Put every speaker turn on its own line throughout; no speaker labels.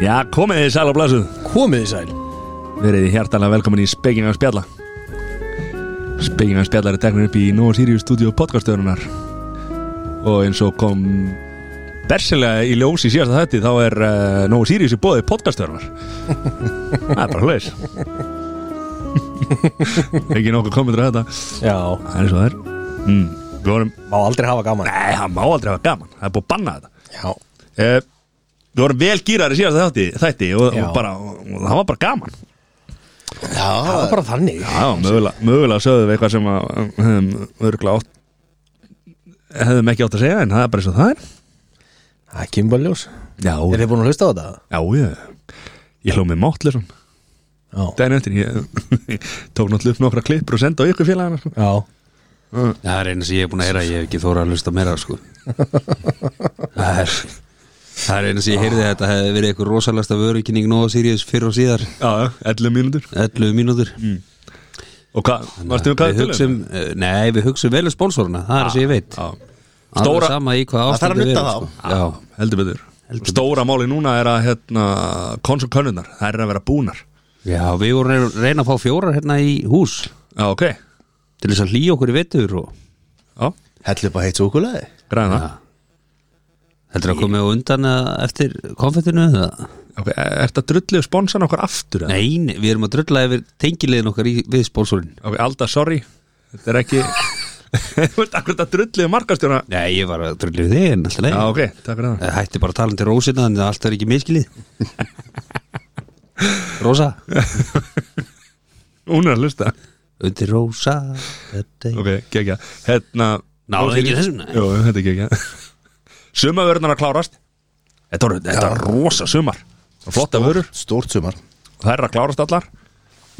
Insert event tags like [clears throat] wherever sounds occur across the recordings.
Já, komið þið sæl á blæsuð
Komið þið sæl
Verið þið hjartalega velkomin í Spegging á spjalla Spegging á spjalla er teknir upp í Nova Sirius Studio podcastöðunar Og eins og kom bersilega í ljós í síðasta þætti Þá er uh, Nova Sirius í bóði podcastöðunar Það er bara hlaus [laughs] Ekki nokkuð komendur að þetta
Já
Það er svo það er mm, Við vorum,
Má aldrei hafa gaman
nei, það má aldrei hafa gaman Það er búið að banna þetta
Já
Eh, Við vorum vel gýrar í síðasta þætti, þætti og,
Já.
og, bara, og það var bara gaman
Það var bara þannig
Já, mögulega, mögulega sögðum við eitthvað sem að um, hefðum örgla átt hefðum ekki átt að segja en það er bara eins og það er
Það er kemur bara í ljós Er
Já,
þið búin að hlusta á þetta?
já, ég ég hló með mátt lýsum
Já
daginn eftir, ég [laughs] tók náttúrulega upp nokkra klippur og senda á ykkur félagana sko.
Já
Það er eina sem ég er búin að heyra, ég hef ekki þóra að hlusta meira sko Það er Það er eina sem ég heyrði að þetta hefði verið eitthvað rosalasta vörukynning Nóa Sirius fyrr og síðar
Já, já, 11 mínútur
11 mínútur
Mm.
Og hvað, varstu við hvað við
Við
tölum?
hugsum, eh, nei við hugsum vel um spónsoruna, það er það sem ég veit
Já,
Stóra
Stóra-
sama í hvað
Ah, Það þarf að
ástandi við
nudda
erum,
þá.
sko. Já,
heldur betur Stóra máli núna er að hérna, konsulkönnunar, þær eru að vera búnar
Já, við vorum að reyna að fá fjórar hérna í hús
Já, ok,
til þess að hlýja okkur í vetur og
já,
Hellu upp á heitt súkulaði
græða það
Já. heldur að komið á undan eh, eftir konfettinu eða?
Ok, e, ert að drullið sponsan okkar aftur? eða?
Nei, nei, við erum að drulla yfir tengiliðin okkar í, við spónsorinn
Ok, Alda, sorry Þetta er ekki Þú ert akkur að drullið markastjóna
Nei, ég var að drulla yfir þig en alltaf leið
Já, ok, takk fyrir það
Eh, Hætti bara að tala um til Rósina en allt er ekki
[laughs]
miskilið Rósa
Hún er að hlusta
Undir Rósa þetta er-
Ok, gegja Hérna
Náðu ekki þessum, nei.
Jó, þetta er [laughs] gegja Sumavörunar að klárast Þetta er, þetta er rosa sumar Og Flotta vörur
Stórt sumar
Það er að klárast allar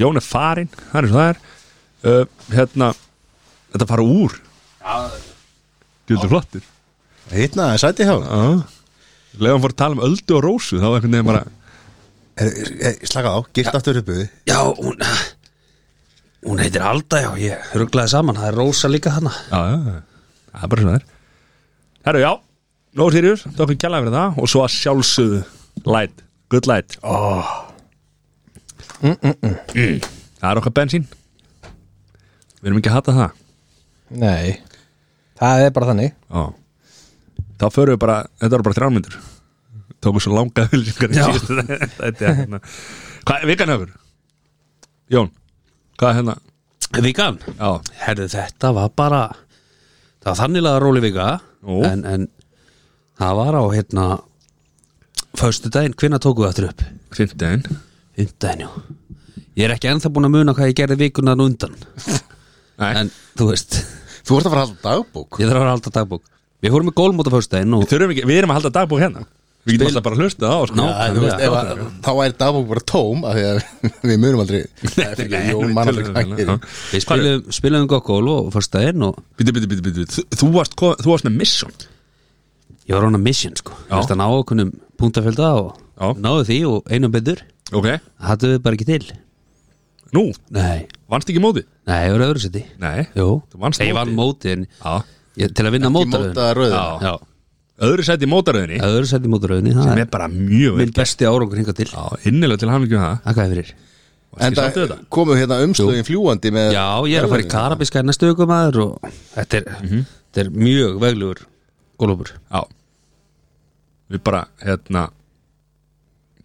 Jón er farinn, það er eins og það er uh, Hérna Þetta fara úr Gjöldur flottir
Hittna, sæti Hérna, hjá honum.
Leðan fór að tala um öldu og rósu Þá var einhvern veginn bara
Heyrðu, eh, Slaka á, girt aftur uppuði
Já, hún Hún heitir Alda, já, ég rugglaði saman Það er Rósa líka hana
Já, já, já. það er bara svona þér Herru, já, nóg sýrjus Takk fyrir kjallaði fyrir það og svo að sjálfsögðu Light, good light oh. mm, mm, mm. Það er okkar bensín Við erum ekki að hata það
Nei Það er bara þannig
Já Þá förum við bara, þetta eru bara þrjármyndur Tókum svo langa hulsingar í síðustu Þetta er hérna Hvað, vikan hefur? Jón, hvað er hérna?
Vikan,
Já,
herðu þetta var bara Það var þannig að Róli Vika
Jú.
en, en það var á hérna Föstu daginn, hvenær tóku það aftur upp?
fimmtudaginn
Undan, já Ég er ekki ennþá búin að muna hvað ég gerði vikuna nú undan
Nei,
En, þú veist
Þú ert að fara að halda dagbók
Ég þarf að vera alltaf dagbók Við fórum í gólmóta fyrstæðin og
þurfum ekki, við erum að halda dagbúk hérna Við getum alltaf bara að hlusta á sko.
Ná,
Já, þú veist, ef að- Þá er dagbók bara tóm af því að [laughs] við munum aldrei Nei, um fyrir ekki, Jón mann aldrei hvað hann gerir.
Við spilum, spilum gott gól og fyrstæðin og
Bíti, bíti, bíti, bíti Þú, þú, varst, ko- þú varst með mission
ég var hann að mission sko Ég
Já.
veist að ná okkunum punktafjölda og
Já.
náðu því og einum betur
Ok
Hattu við bara ekki til
Nú,
Nei,
vannst ekki móti?
nei, ég var öðru seti
Nei
Jú,
Þú vannst
Nei, ég vann móti en
Já
ég, til að vinna
Ekki
mótaröðin
mótaða rauðina.
Já,
Öðru sæti í mótaröðinni
öðru seti mótaröðin
Sem
Það
er bara mjög
er
vel
minn besti árangur hinga til
Já, innilega til hann ekki um það
Þakka þér fyrir
En
Varstu ekki sáttu við
það
þetta?
komu hérna umstöðin fljúandi með
Já, ég er að fara í karabiska næstu ökum aður og
Mhm.
þetta er, þetta er mjög veglugur gólópur
Já Við bara, hérna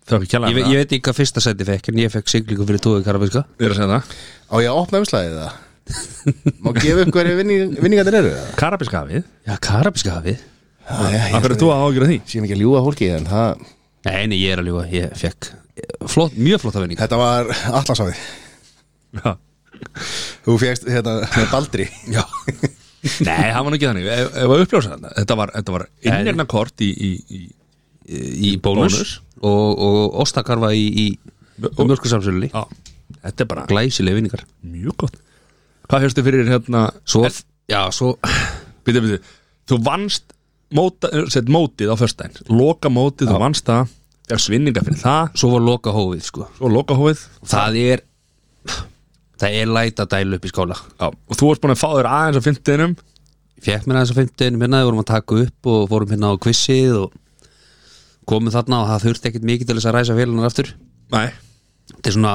Það er ekki kjalla
ég, ve- ég veit ekki hvað fyrsta seti fekk en ég fekk siglingu fyrir tóðu karabiska
Við erum að segja það
Á ég að opna umslæðið það Má gefa upp hverju vinning- vinningarnir eru það
Karabiska hafið
Já, karabiska hafið
Það
Akkur er þú að ágjöra því?
Sýn ekki að ljúga fólki en það
Nei, nei, ég er að ljúga, ég fekk eh, flott, mjög flotta vinninga
Þetta var allansafið
Já
Þú fegst hérna með Baldri
Já,
Nei, það var nú ekki þannig Ef ef að uppljósa þetta Þetta var, þetta var innegna kort í, í, í
í bónus,
Bónus.
og, og ostakarfa í, í
Og-
mjölkusamsölunni
Já Þetta er bara
Glæsileg vinningar
mjög gott Hvað hérstu fyrir hérna
Svo, já, svo
Býtu, býtu, þú vannst móta, set, mótið á förstæðin loka mótið, þú vannst það það er svinninga fyrir það,
svo var loka hófið, sko
svo loka hófið
Það er það er læta dælu upp í skóla
já, og þú varst búin að fá þér aðeins á fimmtinum
hérna Ég fekk mér aðeins á 15 minna, við vorum að taka upp og fórum hérna á quizið og komu þarna og það þurfti ekkit mikið til þess að ræsa félunar aftur
Nei,
þetta er svona,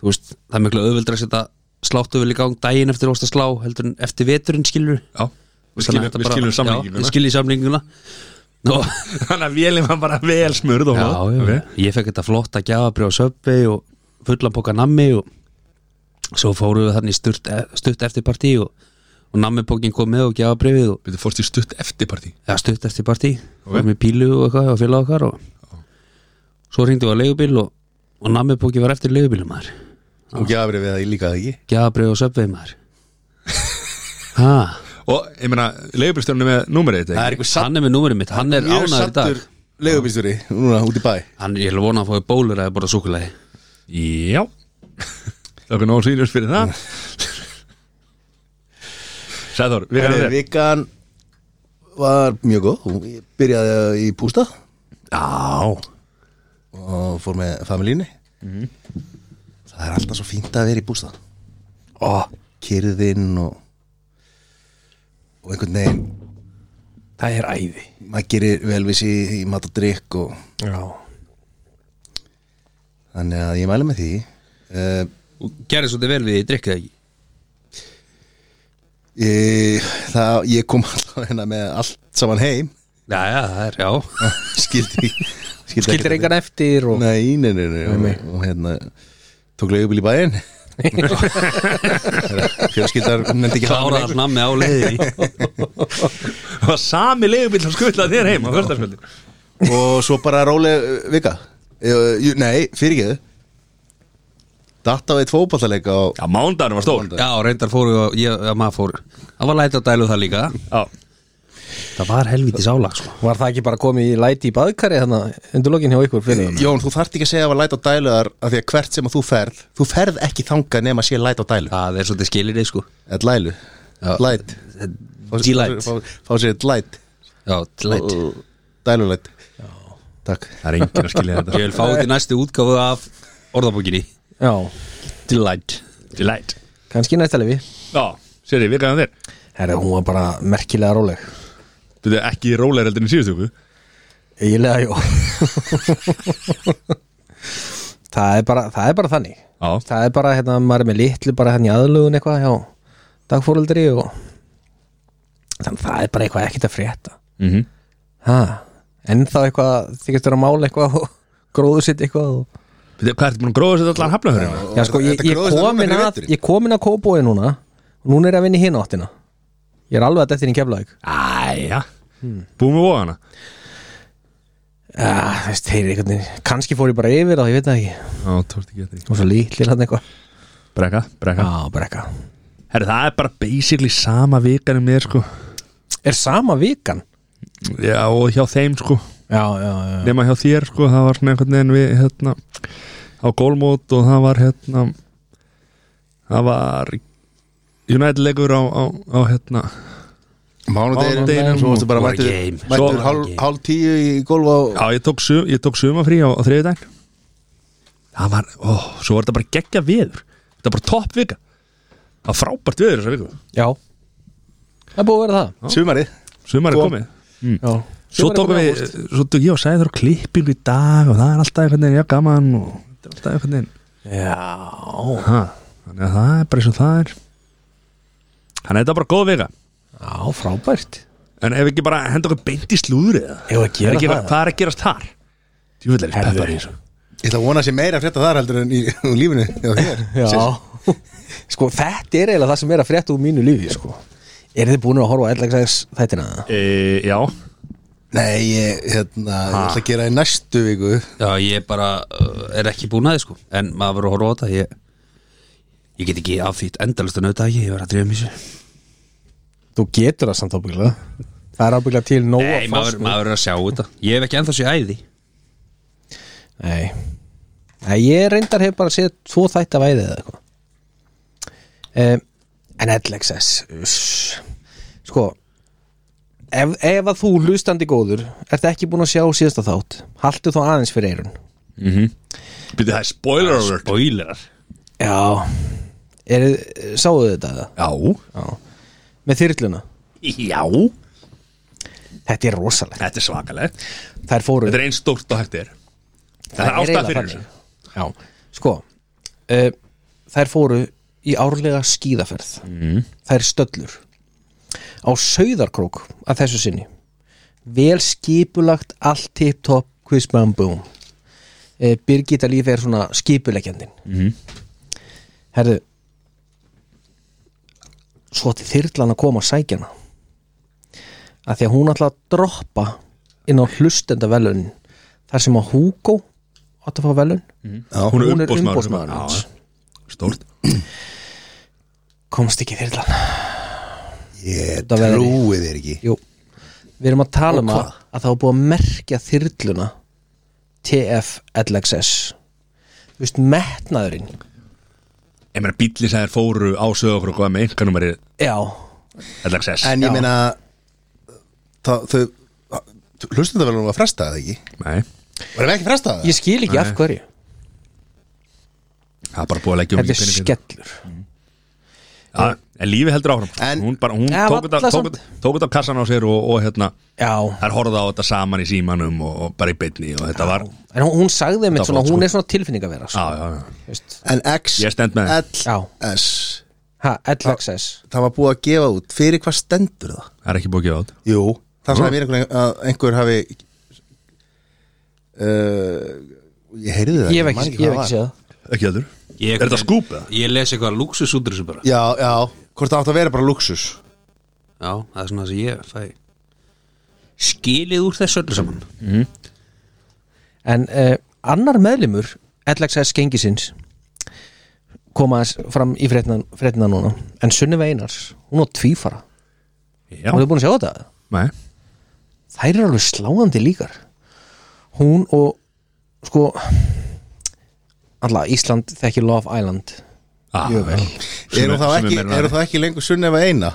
þú veist, það er miklu auðveldra að setja sláttu í gang daginn eftir óst að slá, heldur en eftir veturinn skilur
já Við skilum, við skilum samlíkinguna
Við skiljum samlíkinguna og
Þannig að vélum var bara vel smurð og
Já,
hlað.
já,
Ok.
ég fekk þetta flotta gjafabri á söpvi og fullan poka nammi og svo fóruðu við þannig stutt, e, stutt eftir partí og, og nammipókin kom með og gjafabrifið og
Við fórst í stutt eftirparti
ja, stutt eftir partí okay. með pílu og eitthvað og félag okkar og svo ringdi við á leigubíl og, og nammipóki var eftir leigubílum maður
og gjafrið við það líka það ekki
gjafabrif og söpvi [laughs] maður ha,
Og ég meina, leigubilstjórnum með númerið þetta
það
ekki?
er eitthvað satt
hann er með númerið mitt hann er
mjög
ánæður í dag
sattur leigubílstjóri núna út í bæ
hann, ég vil vona að fóði bólur að borða súkulegi
Já Það er nóg sýnjus fyrir það
Mm.
Sæður, við erum
Herri,
þér
vikan var mjög góð Hún- ég byrjaði í Pústa
Já
og fór með familíni það er alltaf svo fínt að vera í Pústa og kyrðinn og og einhvern veginn
Það er æði
maður gerir vel við sér í mat og drikk og
Já
þannig að ég mæla með því uh,
og gerði svolítið vel við því, drikkið ekki
ég, það, ég kom [laughs] alltaf hérna með allt saman heim
Já, já, það er, [laughs] já
skildi skildi,
Skildir engan eftir og
nei, nei, nei, nei,
Sko. Nei, nei.
Og, og hérna tók leigubíl í bæinn fjölskyldar nefndi ekki
Klára alls nammi á leiði
Það var sami leigubill sem skutlaði þér heim á fyrstaskvöldi
og svo bara róleg eh, vika Eh, jú, nei, fyrirgeðu datt á eitt fótballaleika og
Já, mándagur var stór
[laughs] Já, reyndar fóru og ég, að maður fór Það var læti að dælu það líka
Já,
Það var helvítis álag, sko
Var það ekki bara komið í læti í baðkari þannig undir lokin hjá ykkur fyrir
Jón, þú þarft ekki að segja að var læt á dæluðar af því að hvert sem að þú ferð þú ferð ekki þangað nema að sé læt á dælu
Það er svolítið skilirði, sko
eða lælu,
Já.
læt Fá sér-
D-light.
fá- fá sér eitt læt
Já, læti
dælulæt takk
það er enginn að skilja
Ég
þetta
vil fá út í næstu útgáfu af orðabókinni
Já,
Delight
Delight
kannski í næsta lefi
Já, sér ég, vikaðan þér
Herra, hún var bara merkilega róleg
Þú veit ekki rólegar heldur en síðustu okkur
Eiginlega, jú [laughs] það, er bara, það er bara þannig
Já,
Það er bara, hérna, maður er með litlu bara hérna í aðlugun eitthvað hjá dagfóreldri og þannig að það er bara eitthvað ekkert að frétta
mhm
ha, En þá eitthvað, þykist vera að mála eitthvað og [laughs] gróðu sitt eitthvað og...
Bíddu, Hvað ertu búin að gróða sér allan hafnafjörðina?
Já, sko, ég,
Þetta
ég
gróðist núna
komin
fyrir
að
veturinn.
ég komin að kóbói núna og núna er ég að vinna í hinn áttina Ég er alveg að dettin í keflaug
Æja Búum við vóðana
Já, þú veist, þeir eru einhvern veginn Kannski fór ég bara yfir þá, ég veit það ekki
Já, tókst ekki eftir því.
Og svo litlir hann eitthvað
Brekka, brekka
Já, bara eitthvað
Herri, það er bara basically sama vikanum mér sko
Er sama vikan?
Já, og hjá þeim sko
Já, já, já
nema hjá þér sko, það var svona einhvern veginn við hérna á gólmót og það var hérna það var United leikur á, á, á hérna Mánudeginum.
mánudeginum, svo varstu bara
Var
mættur
game.
Svo-
mættur hálf, hálf tíu í golf á
já, ég tók, sum, ég tók sumafrí á, á þriðudaginn það var, ó, svo var þetta bara geggja viður þetta var bara topp vika það var frábært viður þessa viku
Já Það er búið að vera það
sumarið
sumar er
Kom.
komið Mm.
Já
svo
Sumarið
tókum
komið í
við,
ágúst.
svo tók ég og sæður klippingu í dag og það er alltaf einhvern veginn, já gaman og þetta er alltaf einhvern veginn
Já
ha, þannig að það er bara eins og það er þannig að þetta var bara góð vika
Já, frábært
En ef ekki bara henda okkur beint í slúður eða
Eigum við að gera
Er ekki,
það?
Hvað er að gerast þar? Djúvill er
Herðu.
peppar í þessu
ég ætla að vona sér meira að frétta þar heldur en í úr lífinu hjá þér Sér-
[laughs] Já Sko, þetta er eiginlega það sem er að frétta úr mínu lífi, sko Er þið búin að horfa á LXS þættina?
e, Já
nei, ég, hérna, ég ætla að gera í næstu viku
Já, ég bara uh, er ekki búin að þið, sko En maður verður að horfa á þetta Ég, ég get ekki afþýtt endalist að nauta ekki Ég verður að drifja mér sér
Þú getur það samt ábygglega Það er ábygglega til nóga
Nei, maður maður verður að sjá þetta Ég hef ekki ennþá sér æði
Nei Nei, ég reyndar hef bara séð tvo þætt af æðið eða eitthvað um, En LXS uss. Sko ef, ef að þú hlustandi góður Ert ekki búin að sjá síðasta þátt Haltu þá aðeins fyrir eyrun
Býttu það er spoiler alert
Spoilerar
Já er, Sáuðu þetta? eða?
Já
Já Með þyrluna
Já
Þetta er rosalegt
Þetta er svakalegt
Þær fóru
Þetta er einn stórt og hægt er Það er
eiginlega
ástæð fyrir
þannig.
þessu
Já, sko uh, Þær fóru í árlega skíðaferð
Mhm.
Þær stöllur Á Sauðarkrók að þessu sinni Vel skipulagt allt tip-top Quizman Boom uh, Birgitta Líf er svona skipulegjandin mm.
Mhm.
Herðu Svo til þyrlan að koma að sækja hana að því að hún ætla að droppa inn á hlustenda velun þar sem að Hugo átt að fá velun
Hún
Mhm.
er hérna.
Hún er
umbóðsmaður
umboðsmaður hans.
Stórt
komst ekki þyrlan
Ég
Þetta verður-
trúi þér ekki
Jú. við erum að tala
Og
um að,
hvað?
að það var búið að merkja þyrluna TF-LXS þú veist, metnaðurinn
Ég meina bíllisæðir fóru á sögur og hvað með einkanumari
já,
LXS
En
Já.
ég meina það- Þau Hlustendavælunum var frestað eða ekki
Nei
Var það ekki frestað?
ég skil ekki af hverju
Það er bara búið að leggja um
þetta
mikið
er
pening fyrir
skellur
það. Já, En lífi heldur áfram
En-
Hún, bara, hún
Ja,
tók, þetta,
varla
tók, þetta- tók þetta af kassan á sér og, og hérna
já,
Það er horfða á þetta saman í símanum og, og bara í beinni og þetta var
en hún, hún sagði
Þetta
einmitt svona,
var
hún
sko-
er svona tilfinning að vera
Já,
sko.
já, já
Þú veist.
En X
Ég stend með þér.
L
já,
S
ha, LXS
Það var búið að gefa út Fyrir hvað stendur það?
Það er ekki búið að gefa át
Jú Það sagði mér einhver að einhver hafi uh, Ég heyrði það
ég hef
man
ekki, ég hef
hvað
ekki séð það
Ekki heldur
Ég-
Er þetta skúp eða?
Ég les eitthvað lúksus út úr þessu bara
Já, já Hvort það átt að vera bara luxus
Já, það er svona þess að ég fæ Skilið úr þessu öllu saman
En uh, annar meðlimur LXS gengisins kom aðeins fram í fréttina núna en Sunniva Einars, hún á tvífara
Já,
hún er búin að sjá þetta
nei
þær eru alveg sláandi líkar hún og sko alla Ísland þekki Love Island
Ah,
Jövel.
Eru þá ekki, er það ekki lengur sunnefa eina?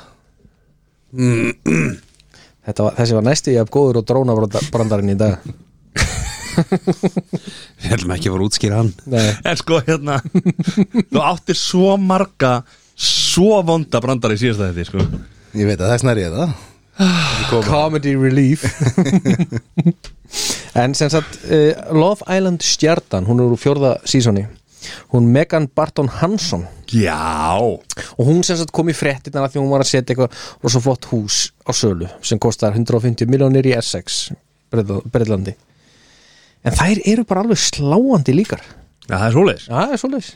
Þetta var, þessi var næstu ég af góður og drónabrandarinn í
[laughs]
dag
Við ætlum ekki að fara að útskýra hann
Nei,
En sko hérna Þú áttir svo marga Svo vonda brandar í síðasta þetta sko.
Ég veit að það er snærið það Ekki koma.
Comedy Relief [laughs] En sem sagt uh, Love Island stjartan, hún er úr fjórða sísoni hún Megan Barton Hansson
Já
og hún sem sagt kom í fréttina af því hún var að setja eitthvað og svo flott hús á sölu sem kostar 150 miljónir í Essex Bretl- Bretlandi en þær eru bara alveg sláandi líkar
Já, það er svoleiðis
Já, það er svoleiðis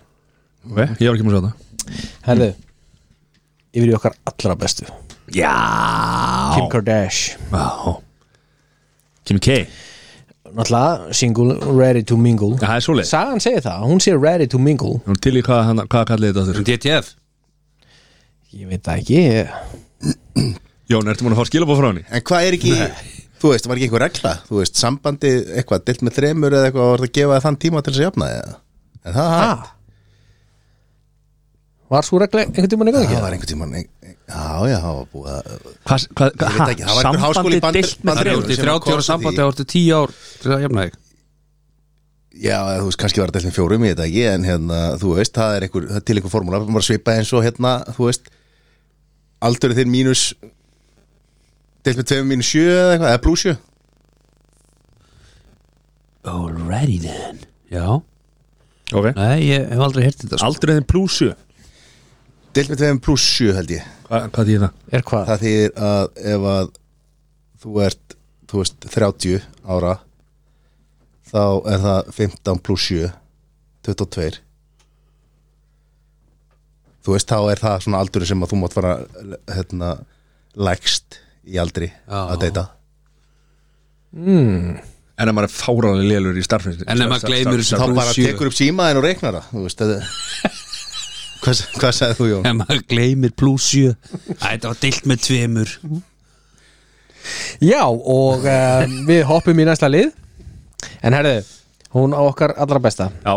okay. Ég var ekki múið að sjá það
Herðu, yfir í okkar allra bestu
Já
Kim Kardashian
Já Kim K Já,
náttúrulega single, ready to mingle
það er svoleiðis
Sagan segir það, hún sé ready to mingle
Hún til í hvað, hann- hvað kallið þetta
Erum
þurr
DTF
Ég veit það ekki
Jón, ertu múin að fá skilabóð frá henni?
En hvað er ekki Þú veist, var ekki einhver regla Þú veist, sambandi eitthvað Dilt með þremur eða eitthvað Var það að gefa þér þann tíma til þess að jafna eða En það,
Ha?
það,
Var svo regla einhvern tímann í gangi?
það var einhver tíma Já, e- já, það var búið að
Hvað, hvað,
Ég veit ekki, það var einhver háskóli í
sambandi
Bandaríkjunum.
deilt með
Það
Bandaríkjunum.
þrjá
er
Þrjú
úr til 30 ára
sem komst í-
sambandi Það er úr til 10 ár til að jafna þig
Já, eða þú veist, kannski var það deilt með fjórum Ég veit ekki, en hérna, þú veist Það er einhver, það er til einhver formúla Bara svipa eins og hérna, þú veist Aldur þinn mínus Deilt með tveim mínus sjö eða eitthvað Eða blúsjö
Alrighty then Já,
Ok
nei, ég hef aldrei hert þetta sko.
Aldreiðin plusu
Deilt með tveim pluss sjö held ég
Hva, Hvað þýðir það?
Er hvað?
það þýðir að ef að þú ert, þú veist, 30 ára þá er það 15 pluss 7 22 þú veist, þá er það svona aldur sem að þú mátt fara hérna, lægst í aldri
Já.
að deyta
En ef maður er fáranlega lélur í starfins
En ef maður gleymir þessu
þá
Plús
bara
sjö.
tekur upp símaðin og reiknar það þú veist, þetta [laughs] hvað, sa- hvað sagði þú Jón?
Ef maður gleymir pluss 7 Þetta var deilt með tveimur
Já, og uh, við hoppum í næsta lið En herðu, hún á okkar allra besta
Já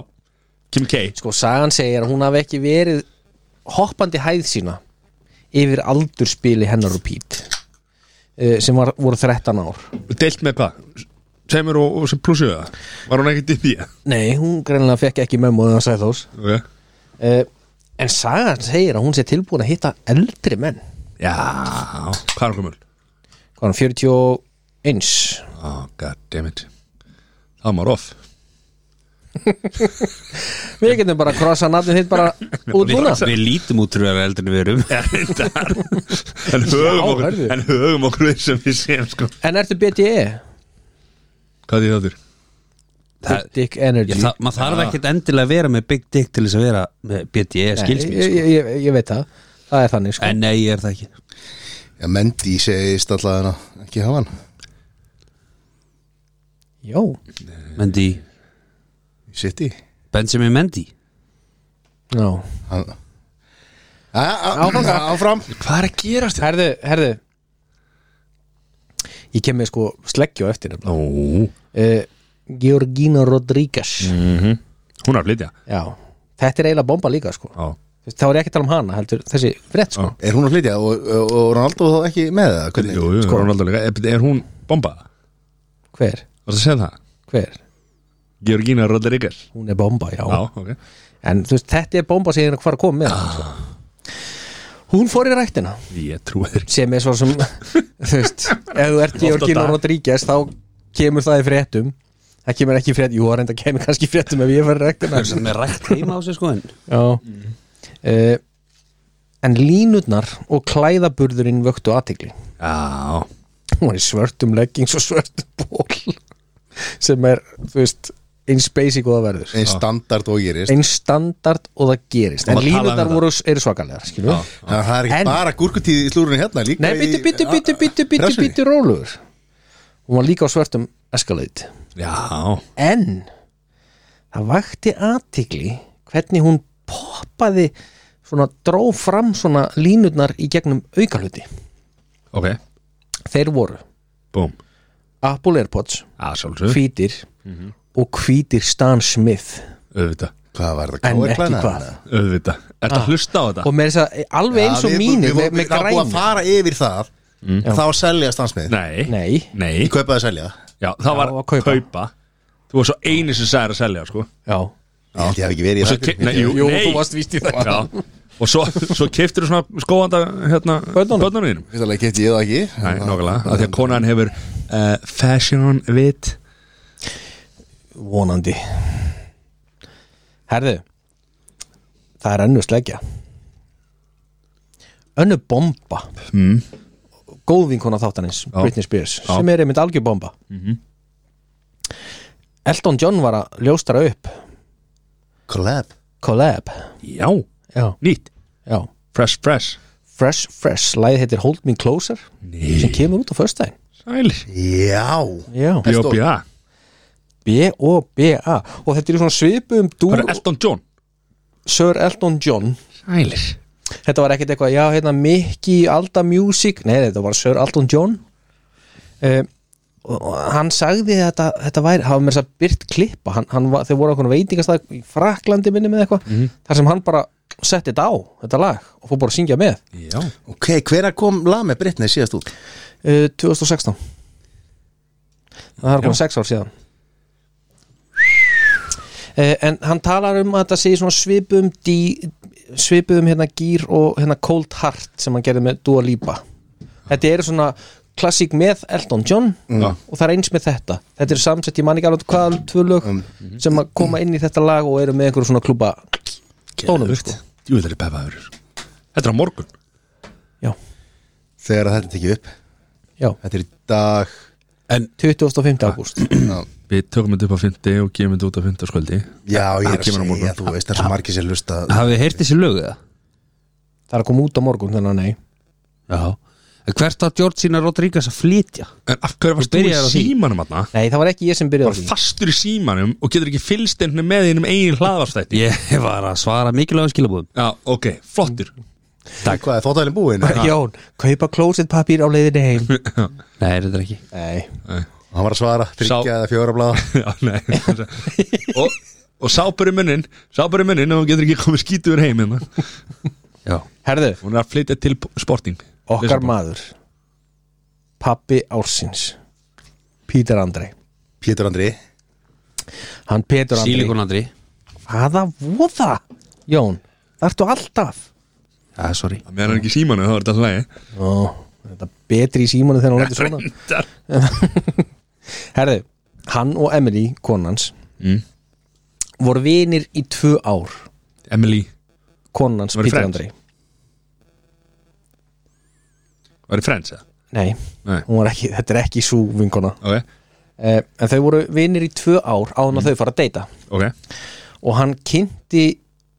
Kim K
Sko, sagan segir að hún hafi ekki verið hoppandi hæð sína yfir aldurspili hennar og Pít uh, sem var, voru 13 ár
Deilt með hvað? Semur og, og sem plusu það? Var hún ekkert í því?
Nei, hún greinilega fekk ekki mömmuðan sæðós
Ok
uh, En sagan segir að hún sé tilbúin að hitta eldri menn
Já Hvað er hún gömul?
Hvað er hann, 40 og eins
oh, god damn it það var maður off
Við getum bara að krossa nafnið þitt bara út núna
Við lítum út trúar eldri en við erum
en höfum okkur,
hörðu.
en höfum okkur við sem við séum sko
En ertu E? BTE?
hvað er það þurr?
Það-
Big Dick Energy
Ég, það, maður þarf ekkert endilega að vera með Big Dick til þess að vera með BDE
ég,
skilsmín
ég,
sko.
ég, ég veit það Það er þannig sko
en nei, ég er það ekki
Já, Mendy segist alltaf hana, ekki hafa hann
Jó,
Mendy,
í City
Benjamin Mendy
já
hann... A, a, áfram, áfram.
hvað er að gerast hérna? þetta?
Herðu, herðu Ég kem með sko sleggju á eftir
Ó,
uh, Georgina Rodríguez
Mm. Mhm. hún er að flytja
Já, þetta er eiginlega bomba líka sko
á,
Þú veist, Þá er ég ekki að tala um hana heldur þessi frétt sko
Já.
er hún að flytja og, og, og Ronaldo þá ekki með
jú,
það Hvernig-
jú, sko. er, er hún bomba?
Hver,
varst að segja það?
hver,
Georgina Rodriguez
hún er bomba já,
já, Ah. ok
En þú veist, þetta er bomba sem ég er hvað að koma með sko. Hún fór í ræktina
ég trúi þér
sem er svo sem [laughs] þú veist, ef þú ert
á
Georgina
dag.
Rodríguez þá kemur það í fréttum það kemur ekki í fréttum, jú, það reynda kemur kannski í fréttum ef ég fyrir rektina
er með rætt heima á sig sko en
mm. uh, en línutnar og klæðaburðurinn vöktu aðtikli
já,
hún var í svörtum leggings og svörtum ból sem er, þú veist eins basic og það verður
einn standard og gerist
eins standard og það gerist
Og
en
maður talaði um
línutnar
þetta.
voru, eru svakalegar skilur við
Þannig að það er ekki
En-
bara gúrkutíð í slúrunni hérna líka
Nei, ah,
í-
býttu, býttu, býttu, býttu, býttu,
Pressunni.
býttu rólugur Hún var líka á svörtum eskaleit
já
En það vakti aðtigli hvernig hún poppaði svona, dró fram svona línurnar í gegnum aukaluti
ok,
Þeir voru
búm
Apple Airpods,
að sjálfsög,
hvítir og hvítir Stan Smith
auðvita
Hvað var það?
En
KR
ekki
klæðnaði
hvað.
hana?
auðvita, ert að hlusta á þetta?
og með þess að alveg eins
Já,
og
við-
mínir með,
við vorum-
með
Það var búið að
græn
fara yfir það Þá selja stansmið
nei,
Nei,
nei.
Kaupaði að selja
Já, það var
Já,
að
að
kaupa.
kaupa.
Þú var svo eini sem sagði að selja sko.
já
Ég held ég hafi ekki verið
Og
í
svo
það
ke- nei, jú,
Jú,
nei.
þú varst víst í það
Já. Og svo, svo keftur þú svona skóanda hérna,
Börnunum.
börnunum þínum
Fyrst alveg kefti ég það ekki
Nei, nokkulega, af því að konan hefur uh, fashion vit
Vonandi Herðu Það er önnur sleggja Önnu bomba mm. Góð vinkona þáttanins Britney Spears sem er einmitt algjör bomba Elton John var að ljóstara upp
Collab
Collab
Já,
Já,
nýtt,
já
fresh, fresh
Fresh Fresh, lagið heitir Hold Me Closer sem
Ný,
kemur út á föstudaginn
sæl
Já
Já,
B.O.B.A.
B-O-B-A og þetta er í svona svipum
Hvað
dúr
er Elton John?
Sir Elton John
Sælir
þetta var ekkert eitthvað, já, hérna Mickey Alda Music, nei, þetta var Sir Alton John um, og og hann sagði þetta, þetta væri, hafa mér þess að byrt klippa hann, hann var, þau voru okkur veitingastæð í Fraklandi minni með eitthvað, þar sem hann bara setti þetta á, þetta lag og fór bara að syngja með
Já,
Ok, hvena kom lag með Britney síðast út?
uh, 2016 það er komið sex ár síðan uh, en hann talar um að þetta sé í svona svipum dí, svipum hérna gýr og hérna cold heart sem hann gerði með Dua Lipa þetta eru svona klassík með Elton John og það er eins með þetta þetta eru samsett, ég man ekki alveg hvaða tvö lög sem að koma inn í þetta lag og eru með einhverju svona klúba tónum sko.
djúðlega peppaður Þetta er á morgun
já,
Þegar að þetta tekið upp
já,
Þetta er í dag [clears throat]
25. ágúst
Við tökum þetta upp á fyndi og gefum þetta út á fyndaskvöldi
Já, ég er að
kemur á morgun.
segja, þú veist, það er svo margir sem lusta
hafið heyrt þessi lög eða?
það er að koma út á morgun þannig að nei
já En hvert að Georgina Rodríguez að flytja
En af hverju varst
Þú
þú í
byrjaðir á því.
símanum aðna?
Nei, það var ekki ég sem
Þú
byrjaði
var fastur í símanum og getur ekki fylst einhvern með einum eigin hlaðvarstætti
ég var að svara mikilvægum skilabúðum
Já, ok, flottur
Takk Hvað er þóttælinn búinn?
Jón, kaupa klósettpapír á leiðinni heim
nei, þetta er ekki
Nei
Hann var að svara,
Sá-
þryggja eða fjóra blaða
Já, nei [laughs] Og, og sápur í munnin Sápur í munnin og hún getur ekki komið skítur heim hérna
já
Herðu,
Hún er að flytja til sporting
okkar maður Pappi Ársins Pítur Andrei
Pétur Andri
Hann Pétur Andrei
Silikon Andri
Hvaða voða? Jón, það ertu alltaf
já, sorry
Mér er hann ekki í símanum, þá er þetta alltaf lægi
Ó, þetta betri í símanu þegar hún letur svona
Reyndar
Herðu, hann og Emily, konans
Mm.
voru vinir í tvö ár
Emily,
konans
Voru
Peter
friends?
Andrei
var þið friends eða?
Nei,
Nei,
hún var ekki, þetta er ekki sú vinkona
ok,
eh, En þau voru vinir í tvö ár áðan að þau fara að deyta
ok
Og hann kynnti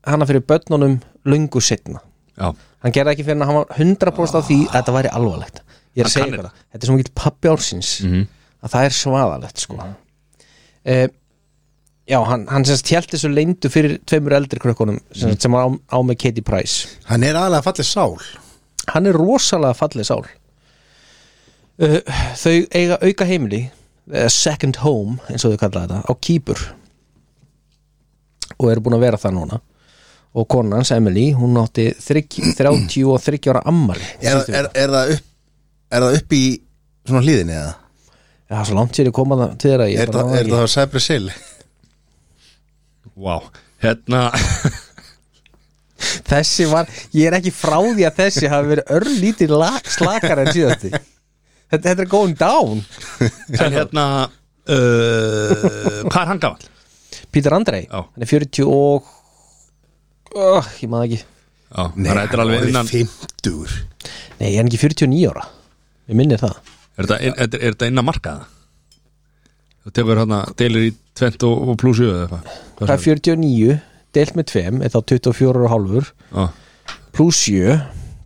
hana fyrir börnunum lungu setna
Já,
Hann gerði ekki fyrir hann, hann var 100% af því að þetta væri alvarlegt Ég er
Hann
að segja
kann
ykkur það, þetta er svo mikið pappi ársins
Mhm.
að það er svaðalegt sko eh, Já, hann, hann semst hjælt þessu leyndu fyrir tveimur eldri krökkunum
Mhm.
sem, sem var á, á með Katie Price
Hann er aðalega fallið sál
hann er rosalega fallið sál uh, þau eiga auka heimili eða second home eins og þau kalla þetta á Kýpur og eru búin að vera það núna og konan hans Emily hún átti 30 30 og 30 ára ammali
er, er, er, það upp, er það upp í svona hlýðinni eða?
það er svo langt sér að koma það til þeirra ég
Er,
bara
það,
náði
er
ekki.
það Cypress Hill?
wow Hérna,
þessi var, ég er ekki frá því að þessi hafi verið örlítið lag- slakar en síðasti þetta, þetta er going down
en hérna uh, Hvað er hann gamall?
Peter Andrei,
Já.
hann er 40 og oh, ég maður ekki
Já, þannig að þetta er alveg innan Er
50
Nei, ég er hann ekki 49 ára Ég minni það
þetta inn- þetta- er þetta innan markaða? Þú tekur hérna, deilir í 20 og og plus 7 eða eitthvað
Hvað er 49 deilt með 2 er þá 24 og hálfur
Já,
pluss 7,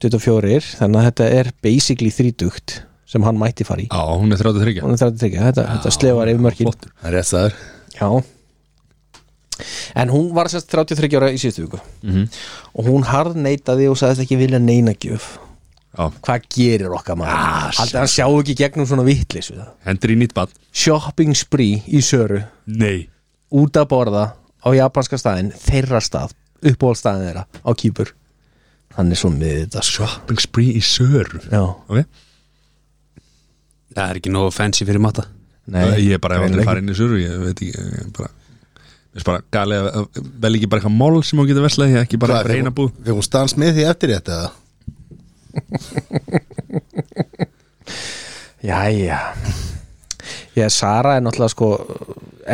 24 þannig að þetta er basically þrítugt sem hann mætti fara í
Já, hún er 33
Hún er 33, þetta, þetta slefar yfir mörkin
flottur.
Það er rétt staður
Já En hún var sérst 33 ára í síðustu viku
Mhm.
og hún harðneitaði og sagðist ekki vilja neina gjöf
Já,
Hvað gerir okkar maður?
Ah,
Alltaf hann sjá ekki í gegnum svona vitlis við það
hendur í nýtt bad
Shopping spree í Söru
Nei
út að borða á japanska staðin þeirra stað, uppáhaldstaðin þeirra á Kýpur hann er svo miðið þetta sko
Shopping spree í söru
Já,
Ok
Það er ekki nógu fancy fyrir matta
Nei, ég er bara hefði aldrei
greinilega
farið inn í söru Ég veit ekki, ég er bara Ég er bara galið að- að vel ekki bara eitthvað mál sem hún getur veslað Ég ekki bara
Hvað,
reyna búð
Þegar hún stans með því eftir þetta eða?
ekki. Jæja Já, Sara er náttúrulega sko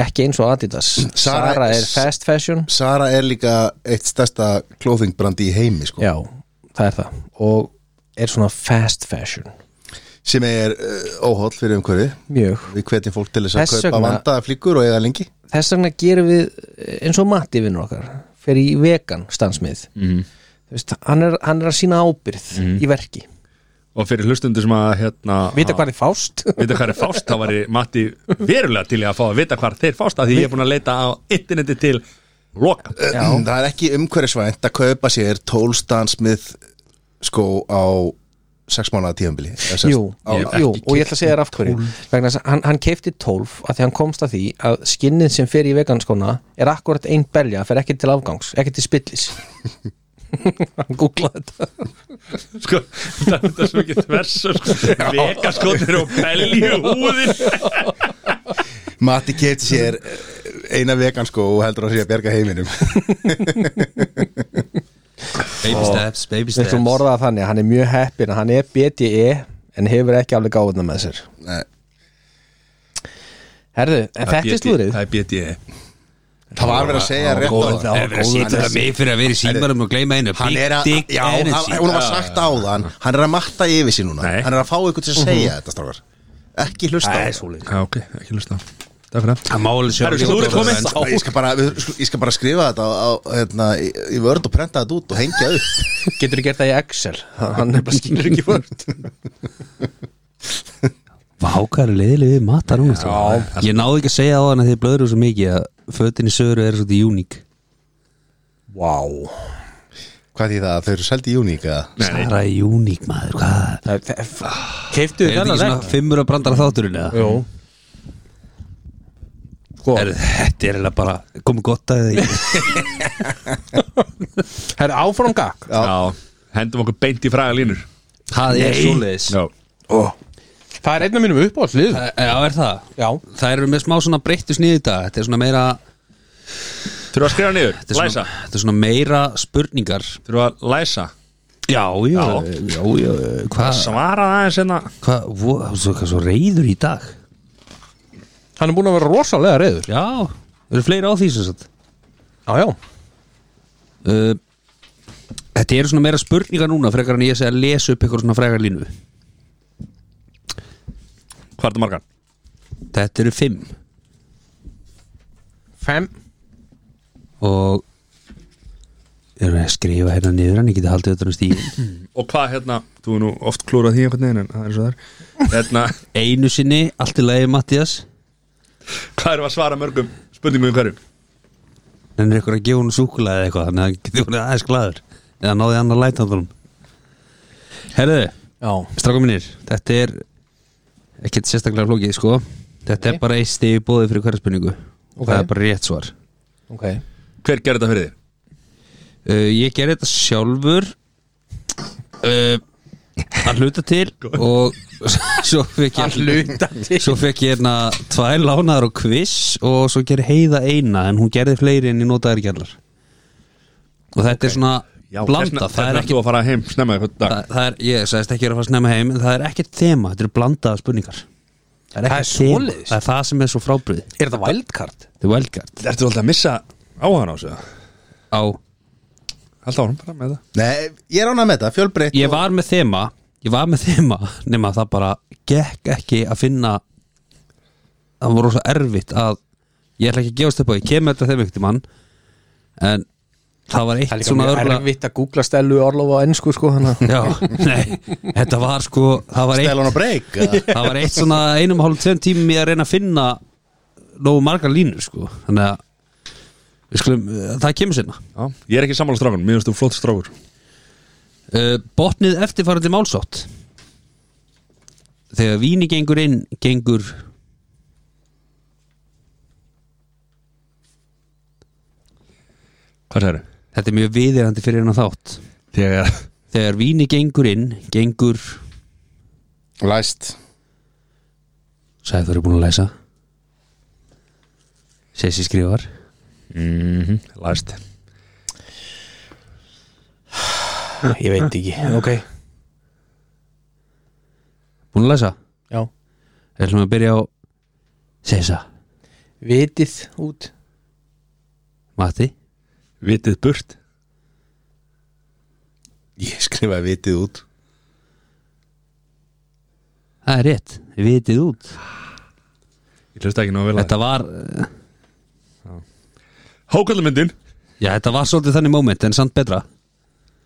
ekki eins og Adidas Sara,
Zara-
er fast fashion
Sara er líka eitt stærsta klóðingbrandi í heimi sko,
Já, það er það og er svona fast fashion
sem er uh, óhóll fyrir umhverfið
mjög,
Við hvetjum fólk til þess að
Þess
kaupa
vegna-
vandaða flíkur og eiga lengi
þess vegna gerum við eh, eins og Matti vinnur okkar fer í vegan stansmið mm.
Mhm.
Veist, hann, er, hann er að sína ábyrð í verki
Og fyrir hlustundu sem að hérna
vita hvað er fást
vita hvað er fást, þá var ég Matti verulega til í að fá að vita hvað þeir fást að því ég er búin að leita á interneti til loka.
Mm, Það er ekki umhverfisvænt að kaupa sér tólstansmið skó á sex mánuða tíðanbili
Jú,
Ég hef
jú
ekki
og ég ætla að segja þér af hverju vegna þess að hann, hann keifti 12 að því hann komst að því að skinnið sem fer í veganskona er akkurat ein belja fer ekki til afgangs, ekki til spillis [laughs] hann googlaði þetta
Sko, það er þetta svo ekki þvers sko, vegaskotir og belgi húðin
Matti kefti sér eh, eina vegan skó og heldur að sé að bjarga heiminum [laughs]
Baby steps, baby
við
steps
ætlum orðaða þannig að hann er mjög heppin að hann er BDE en hefur ekki alveg gáðna með sér
Nei,
Herðu, en þetta er E, slúðrið
Það er BDE
Það var verið að segja rétt á
góður, já.
það
Það er verið að sýta þetta mig fyrir að vera í símarum og gleyma einu
Hann er að,
Big dick
já, hann,
energy
hún var sagt á þann Hann er að matta yfir sér núna
Nei.
Hann er að fá ykkur til að segja þetta, strákar Ekki hlusta á það.
svoleið
Já, ok, ekki hlusta á. Takk fyrir það
Það máli sjá
Herru, slúðrið komið.
En-
Ég skal, bara, við- sko, ég skal bara skrifa þetta á, á, hérna, í, í vörð og prenta þetta út og hengja upp
Getur þú gert það í Excel? Hann er bara skilur [laughs] ekki vörð
Vá, hvað er leiðilegið matar núna strákar? Ég náði ekki að segja á hann að þið blöður svo mikið að fötin í söru er svolítið uník
Vá
Hvað því það, þau eru seldi í Uníka
Sara er uník maður, hvað?
Keiftu
Er þetta ekki svona fimmur að brandara þátturinn eða?
Jú Sko,
Er, þetta er eiginlega bara komið gott að því
herru áfram gag
Já, hendum okkur beint í fræga línur
[laughs] Það er svoleiðis
Já,
Það er einn af mínum uppáhaldslið
Það- Eh, Já, er það?
Já,
Það eru með smá svona breyttu sniði í dag Þetta er svona meira
þurfa að skrifa niður,
Þetta er
læsa
svona, þetta er svona meira spurningar
Þurfa að læsa
Já, já,
Já.
já, já Hvað,
Svara aðeins hérna
hvað, vo- þú veist hvað svo reyður í dag
Hann er búin að vera rosalega reyður
Já, það eru fleiri á því sem sagt
Já, já,
uh, Þetta eru svona meira spurningar núna frekar en ég segi að lesa upp eitthvað svona frekar línu
Hvað er það margar?
Þetta eru fimm
fem
og erum við að skrifa hérna niður en ég geti haldið þetta um stíðin
Og hvað hérna, þú er nú oft klúrað því einhvern veginn en það er svo þar Hérna, [laughs]
Einu sinni, allt í lagi Mattias
hvað erum við að svara mörgum spurningum í hverju?
en er ykkur að gefa hún súkulega eða eitthvað þannig að hann geti hún aðeins glaður eða náði annar lætandunum Herðu,
Já,
strákum mínir þetta er ekkert sérstaklega flókið sko þetta
Nei.
er bara eitt stegi bóði fyrir hverja spurningu
Ok.
það er bara rétt svar
ok
Hver gerir þetta fyrir þig?
uh, ég gerði þetta sjálfur uh, að hluta til og [laughs] svo fekk ég
hluta [laughs] til.
svo fekk ég hérna tvær lánaðar og quiz og svo gerði heiða eina en hún gerði fleiri en ég notaði ekki allar og þetta er svona
hérna-
blandað, það er ekki
Þú Hérna, að fara heim snemma eitthvað dag
það, það er, ég sagðist ekki vera að fara snemma heim en það er ekkert þema, þetta eru blandaða spurningar það er
Það
ekkert
er
þema.
svoleiðis.
það er það sem er svo frábrið
Er þetta vældkart?
þetta er wildcard
Ertu alltaf að missa áhann á sig?
á,
Alltaf árum bara með það
Nei, ég er ánað með þetta, fjölbreytt
ég var með þema ég var með þema nema það bara gekk ekki að finna það var rosa erfitt að ég ætla ekki að gefast upp á, ég kem með þetta þeim ekkert mann en það
Það
var
er
eitt
líka
svona
mjög
örgulega
erfitt að googla Stellu Orlof á ennsku sko hana
Já, nei, þetta var sko það var eitt
Stælan og breyk [laughs]
það var eitt svona einum og hálf tveim tímum í að reyna að finna nógu margar línur sko þannig að við skulum, eh, það kemur sinna
Ég er ekki sammála strákun, mér finnst þú flott strákur
uh, botnið eftirfarandi málsátt þegar víni gengur inn gengur
Hvað segir þau?
þetta er mjög viðirandi fyrir hennar þátt
Þegar
þegar víni gengur inn gengur,
Læst
sagði þú eru búin að læsa Sessi skrifar
Mhm, Læst
Ég veit ekki, [laughs] ok
búin að læsa,
Já,
ætlum við að byrja á Sessa,
vitið út
Matti
Vitið burt
Ég skrifaði vitið út
það er rétt, vitið út
Ég hlusta ekki nóg vel að
þetta var eh,
Hákallmyndin
Já, þetta var svolítið þannig moment, en samt betra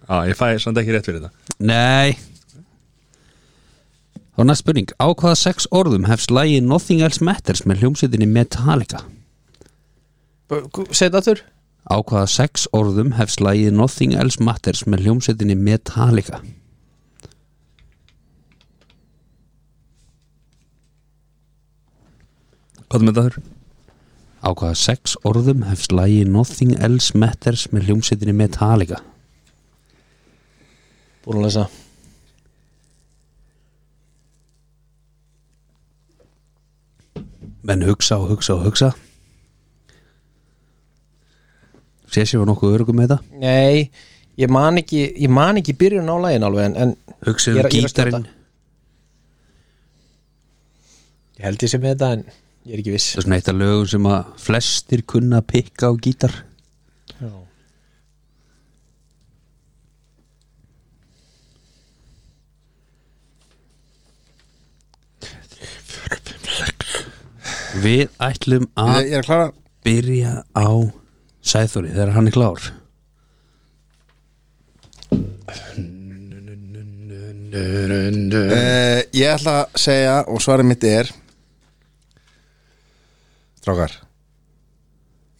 Já, ég fæ samt ekki rétt fyrir þetta
Nei Og næst spurning Á hvaða sex orðum hefst lægi Nothing Else Matters með hljómsveitinni Metallica?
Segð það þurr
Á hvaða sex orðum hefst lægi Nothing Else Matters með hljómsveitinni Metallica?
Hvað er með það þurr?
Á hvaða sex orðum hefst lægi Nothing Else Matters með hljómsveitinni Metallica?
Búin að lesa
Menn hugsa og hugsa og hugsa Sér sér var nokkuð örgum með þetta
Nei, ég man ekki Ég man ekki byrjun á lægin alveg en, en Ég er-
Hugsið um
ég er að
gítarinn
skjóta. ég held ég sem með þetta en ég er ekki viss
Það er svona eitt af lögum sem að flestir kunna að pikka á gítar
Já.
Við ætlum að
Ég er að klara
byrja á Sæþóri þegar hann er klár
Eh, Ég ætla að segja og svarið mitt er Strákar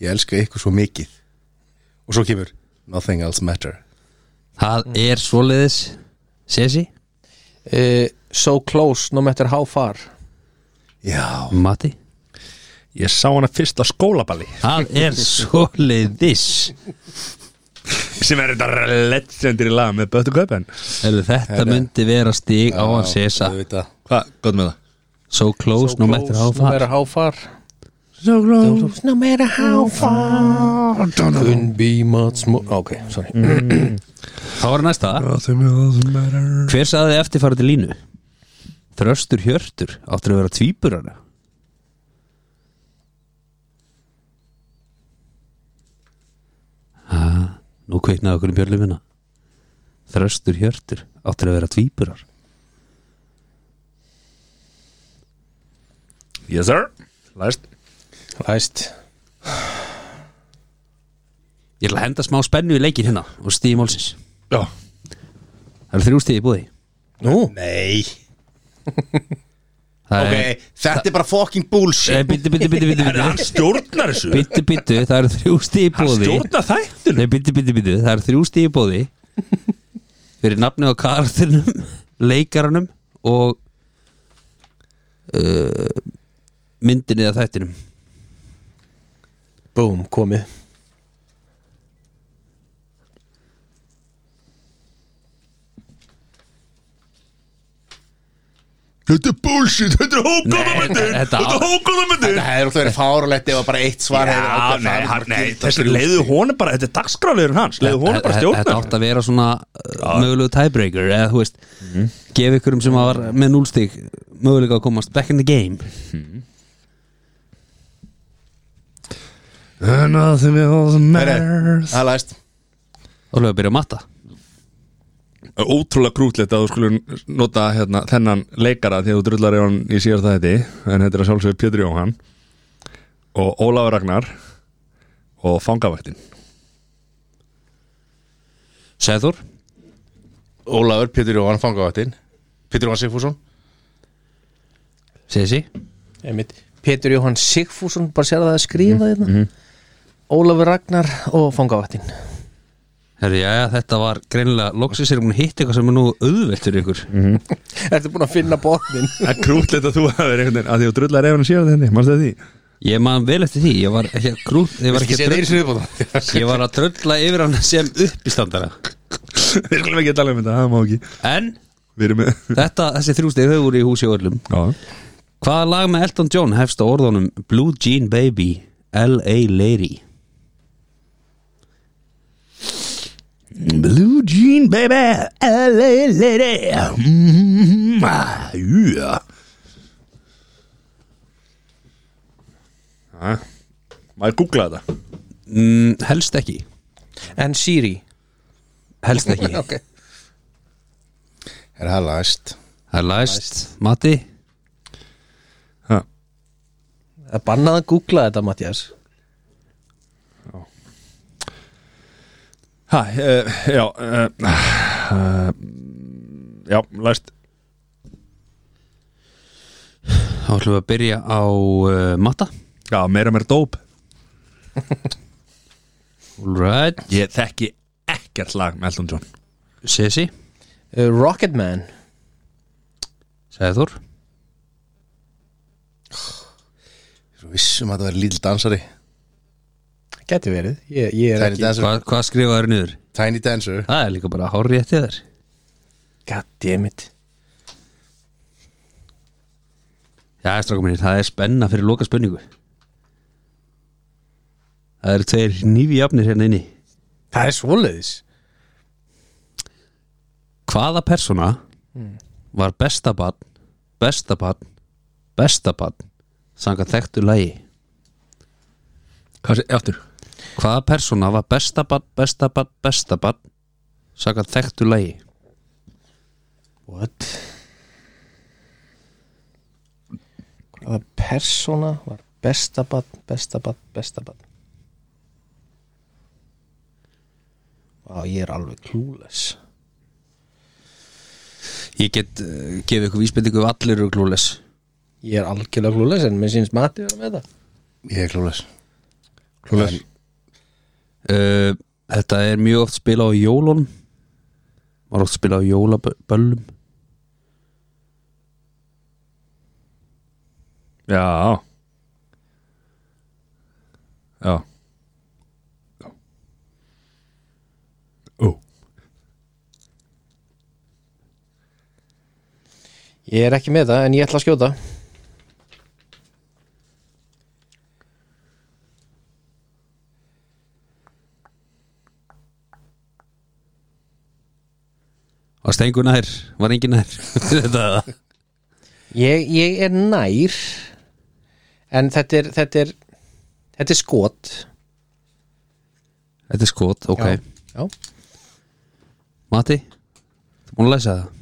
Ég elska ykkur svo mikið Og svo kemur Nothing else matter
Það er svoleiðis Sesi,
uh, So close, no matter how far
Já
Mati
Ég sá hana fyrst á skólaballi
Það er svoleiðis
sem er þetta legendir í lag með Böttu Kaupen
Eða þetta myndi vera stig á hann Sesa
auðvitað.
Hvað, gott með það?
So close, no matter how
No
far
matter how far
So close
No matter Mm. how far Couldn't be much more Ok, sorry
þá er næsta
Nothing else matters
Hver saði eftirfarandi línu? Þröstur Hjörtur áttur að vera tvíburana Ha, nú kveiknaði okkur í björlumina Þröstur Hjörtur áttur að vera tvíburar
Yes sir Læst
Læst
Ég ætla að henda smá spennu í leikin hérna og stíði málsins
Já
Það eru þrjú stíði búði
Nú,
Nei
Það
Ok,
er,
þetta er bara fucking bullshit
Eh, Bíddu, bíddu, bíddu, bíddu,
Herri, hann
bíddu
stjórnar þessu
Bíddu, bíddu, það eru þrjú stíði
Hann
búði
stjórnar þættinu
Nei, bíddu, bíddu, bíddu, það er þrjú stíði bóði Fyrir nafnið á karakterinum Leikaranum og uh, Myndinni eða þættinum
búm, komið
Þetta er bullshit, þetta er
Nei,
hókóðamöndin
þetta-
Þetta er hókóðamöndin
Það hefur alltaf verið fáralegt ef að bara eitt svar hefði
Já,
ákveðið.
nei, hann,
Það er bara
nei,
gilda
þessi
þrjú
leiðu
stig.
honum bara, þetta er dagskráliðurinn hans leiðu honum bara
Þetta- Þetta átt
stjórnar
að vera svona uh, mögulegu tiebreaker eða þú veist, gefa ykkurum sem var með núlstig mögulega að komast back in the game
Nothing else
Herri, Það er læst
og lögum að byrja að matta
Ótrúlega krútlegt að þú skulur nota hérna, þennan leikara því að þú drullar í hann í síðar þætti en þetta er að sjálfsögur Pétur Jóhann og Ólafur Ragnar og Fangavættin
Sæður,
Ólafur, Pétur Jóhann, fangavættin Pétur Jóhann Sigfússon
Sessi
Einmitt. Pétur Jóhann Sigfússon bara sér að það er skrifað hérna Ólafur Ragnar og fangavattin
Herri, já, þetta var greinilega loksins er hún hitt eitthvað sem er nú auðvelt fyrir ykkur
Ertu búin að finna bóðin?
Það er krútlegt að þú hafðir einhvern veginn að því þú drullar í hann í síðar þætti, mannstu því? [laughs]
Ég man vel eftir því, ég var ekki að grút Ég var ekki að drölla Ég var að drölla yfir hann sem uppistandara
Við skulum ekki tala um þetta, það má ekki
En
Við erum með
þetta, þessi þrjústig þau voru í húsi og öllum
Já,
Hvaða lag með Elton John hefst á orðunum Blue Jean Baby, L.A. Lady
Blue Jean baby LA lady mm, ah, yeah. ah, Maður googla þetta
mm, Helst ekki
En Siri
Helst
[laughs]
ekki
okay.
Er það læst
Það er læst, Matti
ha.
Það er bannað að googla þetta Mattias
Ha, uh, Já uh, uh, Já, læst
Þá ætlum við að byrja á uh, Matta
Já, meira meira dóp
All right,
Ég þekki ekkert lag með Elton John
Sessi,
uh, Rocketman
Sæður
Svo vissum um að það verið lítil dansari
Geti verið, ég, ég er
Tiny
ekki
Dancer
Hvað, hvað skrifaður niður?
Tiny Dancer
Það er líka bara hárið eftir þér
Goddammit
Já, strákum mínir, það er spenna fyrir loka spenningu Það eru tveir nýfi jafnir hérna inni
Það er svoleiðis
Hvaða persóna Hmm. var bestabann, bestabann, bestabann Sangat þekktu lægi
Hvað sé, aftur?
Hvaða persóna var bestabann, bestabann, bestabann Sangat þekktu lægi
What? Hvaða persóna var bestabann, bestabann, bestabann Vá, ég er alveg klúles
Ég get uh, gefið ykkur vísbendingu ef allir eru glúles
Ég er algjörlega klúles en mér syns Matti vera með það
Ég er klúles Klúles
uh, Þetta er mjög oft spila á jólun Var oft spila á jólaböllum
Já Já Ó
Ég er ekki með það en ég ætla að skjóta
Var stengu nær, var engin nær [laughs] Þetta
ég, ég er nær en þetta er þetta er, þetta er skot
Þetta er skot, ok
já, já.
Mati, þú múin að lesa það?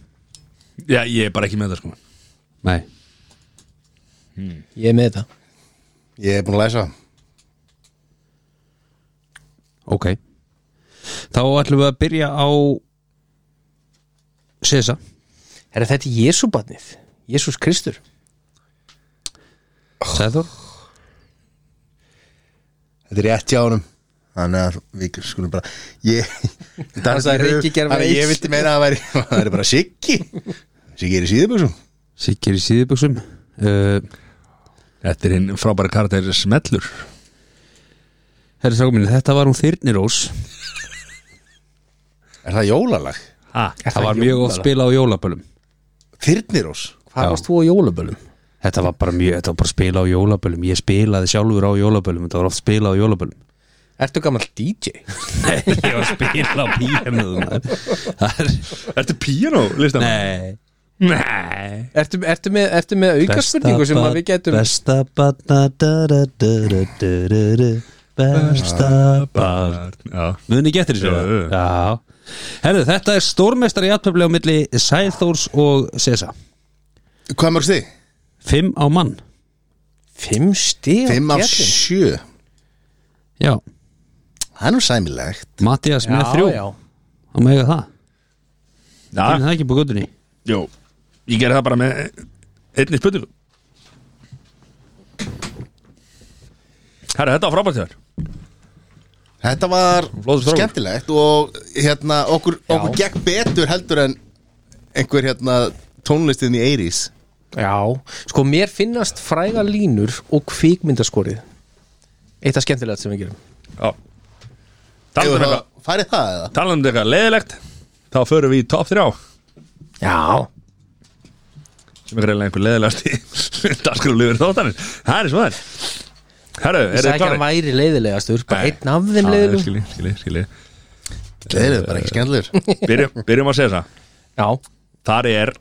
Já, ég er bara ekki með það sko
Nei,
ég er með þetta
Ég er búin að læsa
ok Þá ætlum við að byrja á Sesa
Herra, þetta er Jésúbarnið, Jésús Kristur
Sæður
Þetta er rétt hjá honum Þannig að við skulum bara [laughs] Ég
Þannig að Rikki gerði
Þannig að
eins.
Ég vildi meina að það væri [laughs] Það er bara Siggi Siggi er í síðuböksum
Sikkir í síðuböksum uh,
Þetta er hinn frábæri karakter Smellur
Herri strákum mínu, þetta var hún Þyrnirós
Er það jólalag?
ha,
Það var mjög oft spila á jólabölum
Þyrnirós
hvað varst þú á jólabölum?
Þetta var bara mjög, þetta var bara spila á jólabölum Ég spilaði sjálfur á jólabölum Þetta var oft spila á jólabölum
Ertu gammal DJ?
Nei, ég var að spila á píjamöðum
Ertu píano listan?
Nei
Nei
Ertu, ertu með, ertu með aukaspurningu sem að við getum
Besta batna Besta batna
Já
Muni getur
Jú,
þessu
jú.
Já Herðu, þetta er stórmestari játtöfli á milli Sæþórs og Sesa
Hvað mörgst þið?
Fimm á mann
Fimm stíð
5 af 7
Já,
Það er nú sæmilegt
Mattias með þrjú
já.
Það má eiga það Það er
Já,
það ekki på göttunni
jú Ég gerði það bara með einni spurningu Herra, þetta var frábært þér
Þetta var
Flottur strákur.
skemmtilegt og hérna okkur,
Já.
okkur gekk betur heldur en einhver hérna tónlistin í Eiris
já, sko mér finnast fræga línur og kvíkmyndaskorið Eitt af skemmtilegt sem við gerum
Já Talandi um eitthvað
Færið það eða?
Talandi um eitthvað leiðilegt Þá förum við í top 3
Já,
sem er reyðilega einhver leiðilegasti [laughs] dagskrálugur þáttanir Það er svo þær Herru,
ég
er
sagði ekki að hann væri leiðilegastur bara einn af þeim leiðilegum
Skilji, skilji, skilji
Þeir eru bara ekki skemmtilegur
Byrjum, byrjum að segja það
Já,
Þar er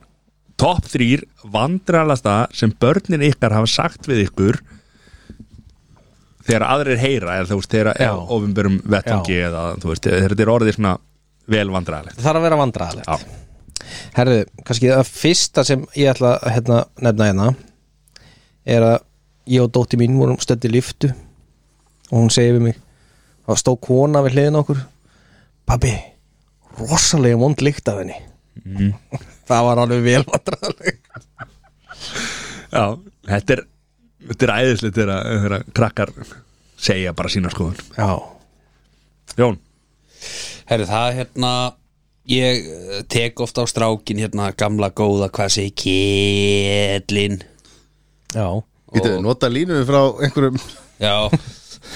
topp þrýr vandralasta sem börnin ykkar hafa sagt við ykkur þegar aðrir heyra eða þú veist,
Já.
þegar ofinbörum vettangi eða þú veist, þegar þetta er orðið svona vel vandralegt
það þarf að vera vandræðalegt
Já,
Herðu, kannski það fyrsta sem ég ætla að hérna, nefna hérna er að ég og dótti mín vorum stödd í lyftu og hún segi við mig þá stóð kona við hliðin okkur Pabbi, rosalega vond lykt af henni Mm. [laughs] Það var alveg vel vandræðaleg
Já þetta er, þetta er æðislegt þegar, þegar krakkar segja bara sína skoðun
Já,
Jón,
Herri, það hérna Ég eh, tek ofta á strákin hérna Gamla góða, hvað segi Kjellin
já
[laughs] Býtu, nota línu frá einhverjum
Já,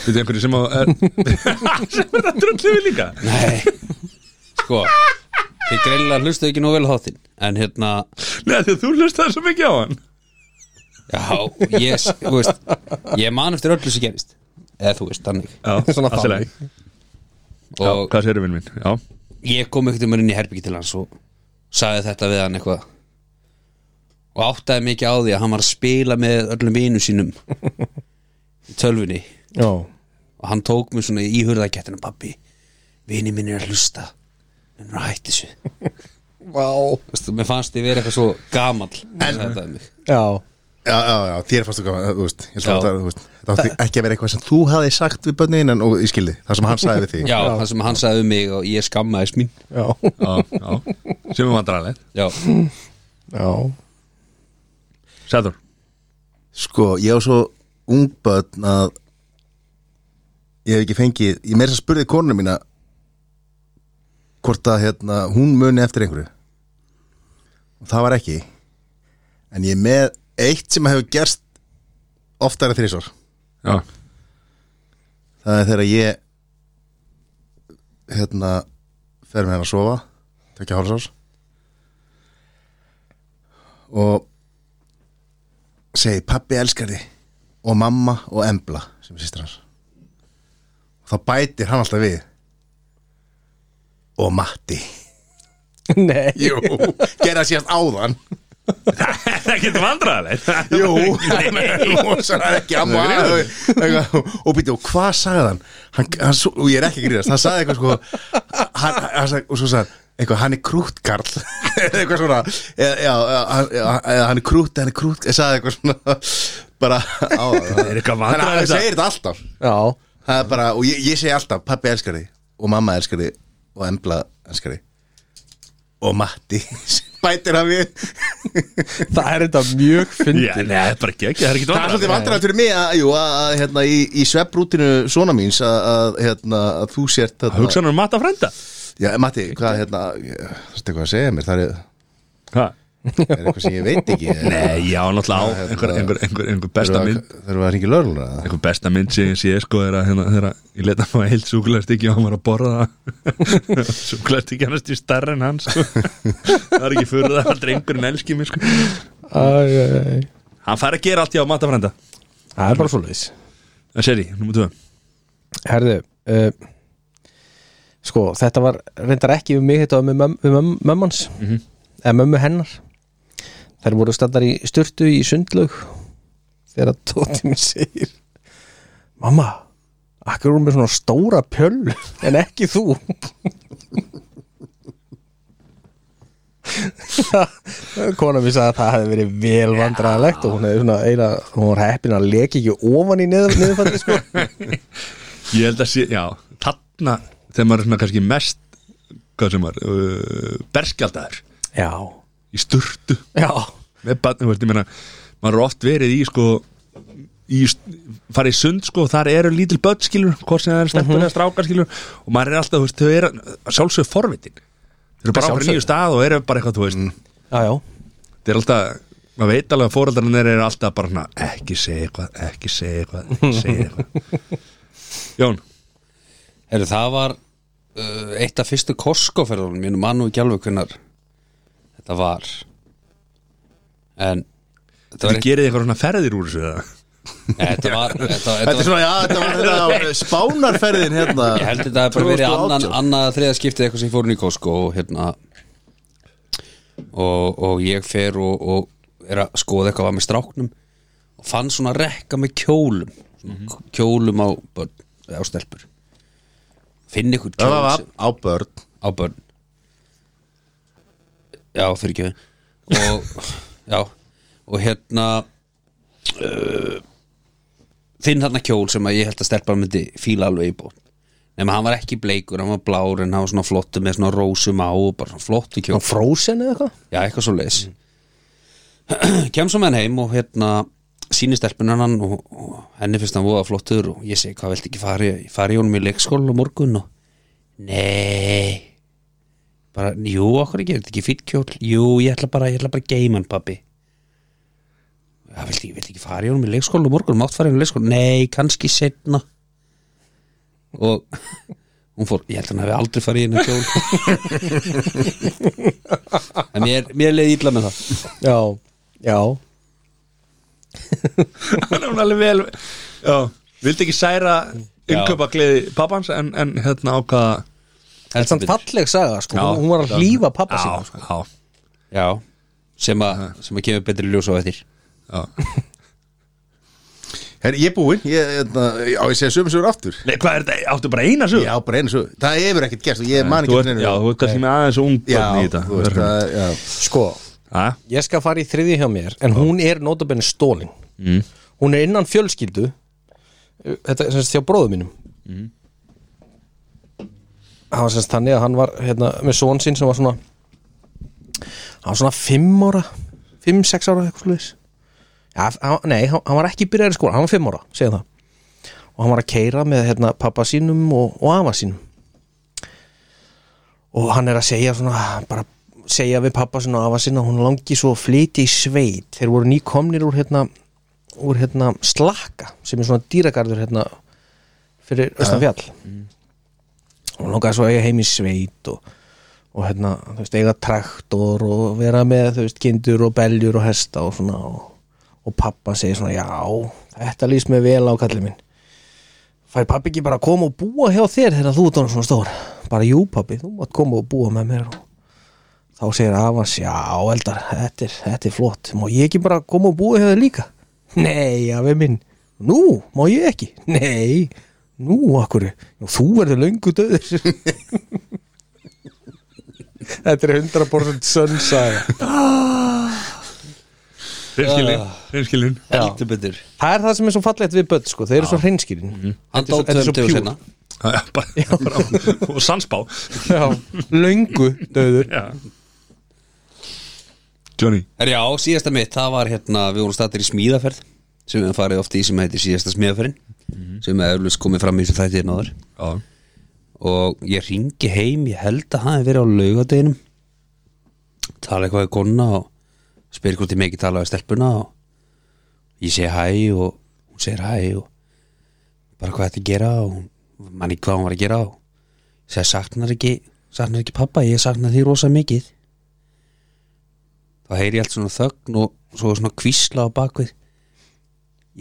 Þetta er einhverju sem á er, sem er að drullu við líka
nei Sko Þið greinilega hlustu ekki nú vel á þáttinn En hérna,
Nei, því að þú hlustaði svo mikið á hann
já, ég s- þú veist, Ég man eftir öllu sem gerist Eða þú veist, þannig
Já,
Svona
allt í lagi. Já,
Og
Hvað sérum við minn? Já,
ég kom ekkert um inn í herbyggi til hans og sagði þetta við hann eitthvað og áttaði mikið á því að hann var að spila með öllum vinum sínum í tölfunni
Já,
og hann tók mig svona í hurðakettina pappi, vini minn er að hlusta hann er að hætti þessu
Vá.
Vistu, mér fannst ég verið eitthvað svo gamall en, þetta er mig
já.
Já, já, já, þér fannst þú gaman, þú veist, ég ætla
Já.
að það, þú veist Það átti ekki að vera eitthvað sem þú hafði sagt við bönnin en og ég skildi, það sem hann sagði við því
já, það sem hann sagði um mig og ég skammaðis mín
já,
já, já Sem er vandrarlegt
já,
já
Sæður
Sko, ég á svo ung börn að ég hef ekki fengið, ég meira þess að spurði konuna mína hvort að hérna, hún muni eftir einhverju og það var ekki en ég er með eitt sem hefur gerst oftar en þrísvar
Já, [laughs]
það er þegar ég hérna fer með henn að sofa tekja hálsás og segi pappi elskar þig og mamma og embla sem er sýstir hans og þá bætir hann alltaf við og Matti
[laughs] Nei
[laughs] Jú, gerða síðast áðan
Það getur vandræðilegt [laughs]
Jú, rosalega ekki amma eitthvað, og býttu, og hvað sagði hann? hann, hann svo- og ég er ekki að grínast, hann sagði eitthvað sko hann, hann sagði, og svo sagði hann eitthvað, hann er krúttkarl [laughs] eitthvað svona, eða, já, hann, eða, hann er krútt, hann er krútt ég sagði eitthvað svona bara
[laughs]
á það
er eitthvað vandræðalegt
hann
að-
segir þetta alltaf
Já,
það er bara, og ég, ég segi alltaf, pappi elskar þig og mamma elskar þig og embla elskar þig og Matti [laughs] bætir hann við
það er þetta mjög
Já,
fyndið
nei, það er bara ekki, það er ekki
Það er svolítið
vandræðilegt
vandræðið fyrir mig að, jú, að, að hérna, í, í svepprútinu svona míns að, að, hérna, að þú sért að,
Hugsanum um matta frænda
Já, Matti, hvað, hérna, það er eitthvað að segja mér, það er, það er eitthvað sem ég veit ekki
[laughs] Nei, Eh, já, náttúrulega á
Það er
einhver,
bara-
einhver, einhver, einhver besta mynd
Það eru að ringi lörluna
einhver besta mynd sem ég sé sko er að hérna, þegar ég leta hann heilt súkulegastykki og hann var að borða það [laughs] súkulegastykki hann er stu starra en hann sko. það er ekki fyrir það að drengurinn elski mig sko.
Æ, æ, æ.
hann fær að gera allt hjá Eh, matafrænda
Það er bara svoleiðis
það séri, nummer 2
Herðu uh, Sko, þetta var reyndar ekki um mig Þetta var með möm, möm, mömmans Eða mömmu hennar Þær voru standar í styrtu í sundlaug Þegar Tóti mér segir Mamma Akkur erum við svona stóra pjöll En ekki þú [laughs] Kona mér sagði að það hefði verið vel vandræðalegt Og hún hefði svona eina Hún var heppin að leka ekki ofan í niður, niðurfalli sko
ég held að sé, já, þarna þegar maður er svona kannski mest hvað sem var, uh, berskjaldar
Já,
í sturtu
já,
með barni, þú veist, ég meina maður er oft verið í sko í, farið í sund sko, þar eru lítil börn skilur, hvort sem það er
Mhm.
stelpur eða strákar skilur og maður er alltaf, þú veist, þau eru sjálfsög forvitin, þau eru bara á fyrir
Sjálfsögð.
nýju stað og eru bara eitthvað, þú veist
Mhm.
já, já
þau eru alltaf, maður veit alveg að fóreldarinn þeir eru alltaf bara svona, ekki segja eitthvað ekki segja eitthvað, ekki segja eitthvað
[laughs]
Jón,
Heru, það var uh, eitt af fyrstu Costco-ferðunum mínum mann og ekki alveg hvernar þetta var en þetta var,
þið
eitt,
gerið eitthvað svona ferðir úr þessu það
Nei, þetta var, þetta, var,
Þetta
þetta
er
var
svona, já, þetta var
[laughs]
þetta á spánarferðin, [laughs] hérna
ég held þetta að bara verið
2018.
annan, annað að þriða skiptið eitthvað sem ég fór inn í Costco og hérna og, og ég fer og, og er að skoða eitthvað var með stráknum og fann svona rekka með kjólum svona
Mhm.
kjólum á, börn, á stelpur finn ykkur
Það
kjól
var
sem-
á börn
á börn já, fyrir ekki og, já, og hérna uh, finn þarna kjól sem að ég held að stelpa myndi fíla alveg í bótt nema hann var ekki bleikur, hann var blár en hann var svona flottu með svona rósum á og bara svona flottu kjól
Hann frozen eða eitthvað?
Já, eitthvað svo leis [clears throat] Kem svo með hann heim og hérna síni stelpunan hann og, og henni finnst hann voða flottur og ég segi hvað vilt ekki fari, fari honum í leikskóla á morgun og nei bara, jú, okkur ekki, er þetta ekki fýtt kjól jú, ég ætla bara, ég ætla bara að geima hann pappi það vilt ekki, vilt ekki fari honum í leikskóla á morgun mátt fari honum í leikskóla, nei, kannski setna og [laughs] hún fór, ég held að hann hefði aldrei farið inn í hennar kjól en mér, mér leiði illa með það
Já, já
hann er hún alveg vel já, vildi ekki særa innkaupa gleði pappans en, en hérna ákvaða
En samt falleg saga, sko,
Já.
hún- hún var að hlýfa pappa
já,
sína sko.
já,
Já, sem að, sem að kemur betri ljós á eftir
já
Herri, ég er búinn, ég, hérna, á ég segja sömu sögur aftur
Nei, hvað er þetta? Áttu bara eina sögur?
Já, bara einu sögur, það hefur ekkert gerst og ég
Þú
man ekki
ert,
neinu-
já, þú ert kannski með aðeins ung
já,
börn í þetta
þú veist,
verkefni.
það, já
sko,
Ha?
ég skal fara í þriði hjá mér En hún er notabenni stólin
Mm.
Hún er innan fjölskyldu uh, Þetta er semst hjá bróðu mínum Það var semst þannig að hann var hérna, með son sinn sem var svona Hann var svona fimm ára Fimm, sex ára eitthvað slúðis ja, hann- Nei, hann hann var ekki byrjaður í skóla Hann var fimm ára, segja það og hann var að keira með hérna, pappa sínum og, og afa sínum og hann er að segja svona, bara segja við pappa sinna og afa sinna hún langi svo að flytja í sveit þeir voru nýkomnir úr hérna úr hérna slakka sem er svona dýragarður hérna fyrir Östanfjall hún langaði svo að eiga heim í sveit og, og hérna, þú veist, eiga traktor og vera með, þú veist, kindur og beljur og hesta og svona og, og pappa segir svona, já, þetta lýst mig vel á kallið minn fær pappi ekki bara að koma og búa hjá þér þegar þú ert orðinn svona stór bara jú pappi, þú mátt koma og búa með mér og þá segir Avans, já, eldar þetta er, þetta er flott, má ég ekki bara koma og búa hjá þér líka? Nei, afi minn nú, má ég ekki? Nei, nú, akkur þú verður löngu döður [laughs] þetta er 100% sönnsaga
Hreinskilin, hreinskilin
heldur betur
það er það sem er svo fallegt við börn, sko, þeir eru svo hreinskýrin
hann
Þetta er svo-
dátt
þetta er svo
þeim tegur
pure.
sinna
Já, já, [laughs] bara- bara- Og sansbá
já, löngu döður
Já Johnny
er já, síðasta mitt, það var hérna við vorum statir í smíðaferð sem við höfum farið oft í sem heitir síðasta smíðaferðin sem er eflust komið fram í þessu þætti hérna áður
Já
og ég ringi heim, ég held að hann er verið á laugadeginum tala eitthvað við konuna og spyr hvort ég megi tala við stelpuna og ég segi hæ og hún segir hæ og bara hvað þetta að gera og hún manni hvað hún var að gera og ég segi saknar ekki saknar ekki pappa, ég saknar því rosa mikið þá heyri ég allt svona þögn og svo svona kvísla á bakvið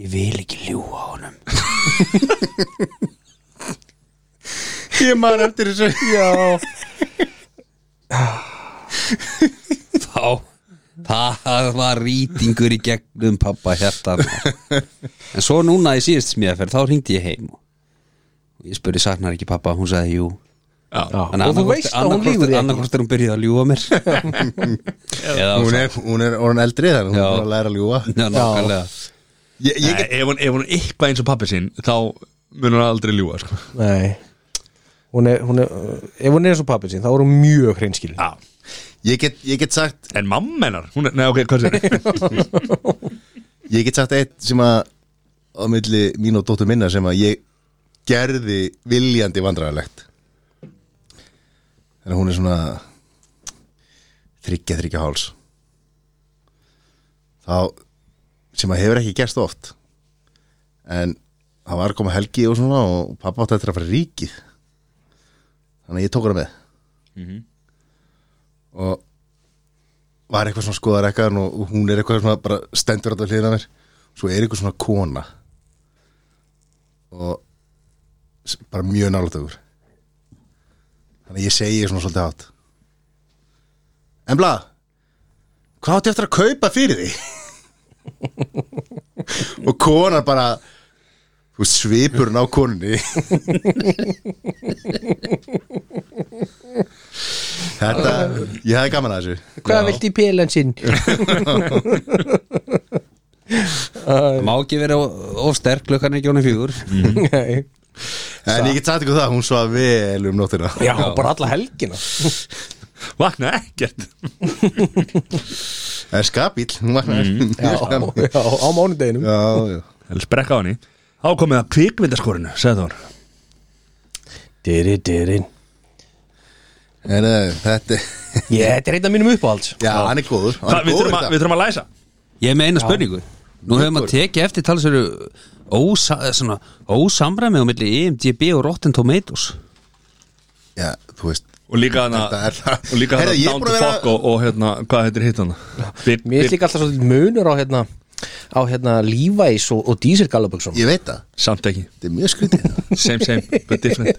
ég vil ekki ljúga á honum
Ég maður eftir þessu
já,
þá það var rýtingur í gegnum pappa hjartan en svo núna í síðust smíðaferð þá hringdi ég heim og ég spurði saknar ekki pappa hún sagði jú
Já,
já. og þú veist að hún lífur því ekki
annarkort er hún byrjuð að ljúa mér
[laughs]
eða
Hún er, hún er orðin eldri þannig hún
Já.
er búin að læra að ljúa
Já, nákvæmlega
Ég, ég
Nei,
get,
ef, hún, ef hún er eitthvað eins og pappi sinn þá mun hún aldrei ljúa sko.
nei Hún er, hún er, ef hún er eins og pappi sín þá er hún mjög hreinskilin
Já
ég, get, ég get sagt
En mamma hennar, hún er, nei ok, hvað sér
Ég get sagt eitt sem að á milli mín og dóttur minna sem að ég gerði viljandi vandræðalegt Þannig að hún er svona þryggja þryggja háls þá sem að hefur ekki gerst oft en það var að koma helgi og svona og pappa átti eftir að fara í ríkið þannig að ég tók hana með og var eitthvað svona skoðar ekkan og hún er eitthvað svona bara stendur alltaf hliðina á mér svo er eitthvað svona kona og s- bara mjög nálaðugur þannig að ég segi svona svolítið átt en blað hvað áttu eftir að kaupa fyrir því [laughs] og konan bara þú veist, svipurinn á konunni [laughs] þetta ég hefði gaman að þessu
Hvað vilt í pélan sinn?
Það má ekki vera of sterk klukkan er ekki honum fjögur
[laughs] Nei.
En ég get sagt ykkur það, hún svaf vel um nóttina
Já, bara alla helgina
Vakna ekkert
En skapíl, hún var mm. [laughs]
Já, já á mánudeginum
já, já
Það er sprekka á henni Þá komið að kvikmyndaskorinu, sagði Þór
Diri, dirin
En uh, þetta,
Ég, þetta er einn af mínum uppáhalds
[laughs] já, hann er góður Hann
Hvað,
er
við
góður
þurfum að,
þetta.
við þurfum að læsa
ég er með eina spurningu nú hefur maður tekið eftir talisveru ósa, svona, ósamræmi á milli E IMDB og Rotten Tomatoes
Já, þú veist
Og líka hana
Þetta er það.
Og líka hana
Heyrðu, ég er
Down
búin
to
að vera-
Fuck og, og hérna, hvað heitir hitt hana Big,
Mér er líka alltaf svolítið munur á hérna á hérna Levi's og, og Diesel Gallaböksum
Ég veit það,
Samt ekki
þetta er mjög skrítið
Same, same, but different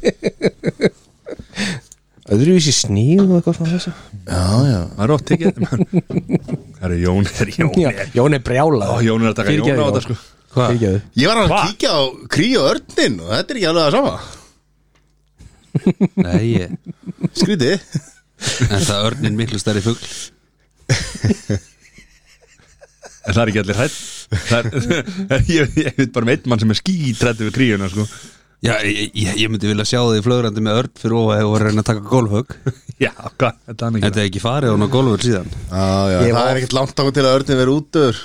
Öðruvísi sníð og eitthvað svona þessu
[laughs] Já, já
Það er oft tekið Það eru Jón, það eru Jón
Já, Jón er brjála
Ó, Jón er að taka Jón á þetta sko
hvað?
Fyrirgefðu.
Ég var alveg
Hva?
að kíkja á krí og örnin og þetta er ekki alveg það [laughs] sama
nei ég [laughs]
Skrítið
En það örnin miklu stærri fugl
En það er ekki allir hætt Það er, ég, ég veit bara með einn mann sem er skítrætti við kríuna sko
Já, ég, ég, ég myndi vilja sjá þig flögrandi með örn fyrir ofa og reyna að taka [laughs] golfhögg
Já, hvað, þetta er hann
Þetta
ekki
er ekki farið hún á golfur síðan
Já, já,
Ég
það
var-
er ekkert langt ákvæm til að örnin veri útur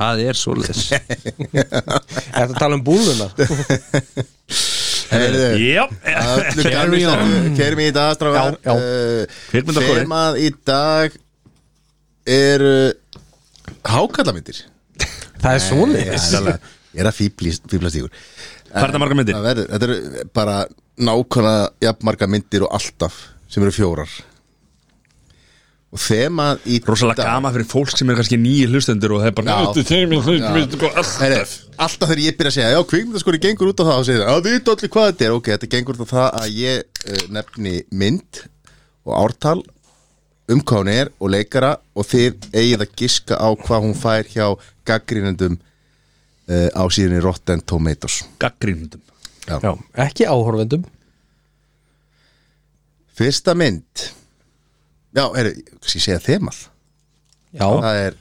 Það er svoleiðis
Ertu að tala um búluna?
Heyrðu
Já,
Öllu
Carry on.
Kerum í dag, strákar Eh,
Já, já.
Kvikmyndakóri.
Femað í dag er hákallamyndir
Það er
Já,
svoleiðis
alveg. Ég er að fýblast ykkur
Hvað er það margar myndir?
Það verður, þetta eru bara nákvæmlega jafnmarga myndir og alltaf sem eru fjórar og þemað í
Rosalega gama fyrir fólk sem er kannski nýju hlustendur og það er bara
Já.
Þetta er þeimil,
Já.
þetta er sko
Heri,
alltaf
alltaf þegar ég byrja að segja já, kvikmyndaskori gengur út á það og segir það, að vita allir hvað þetta er eh, ok, þetta gengur út á það að ég uh, nefni mynd og ártal um hvað hún er og leikara og þið eigið að giska á hvað hún fær hjá gaggrínendum uh, á síðunni Rotten Tomatoes
Gaggrínundum
Já, ekki áhorfendum
Fyrsta mynd Já, er, kannski segja þemað
Já,
Það er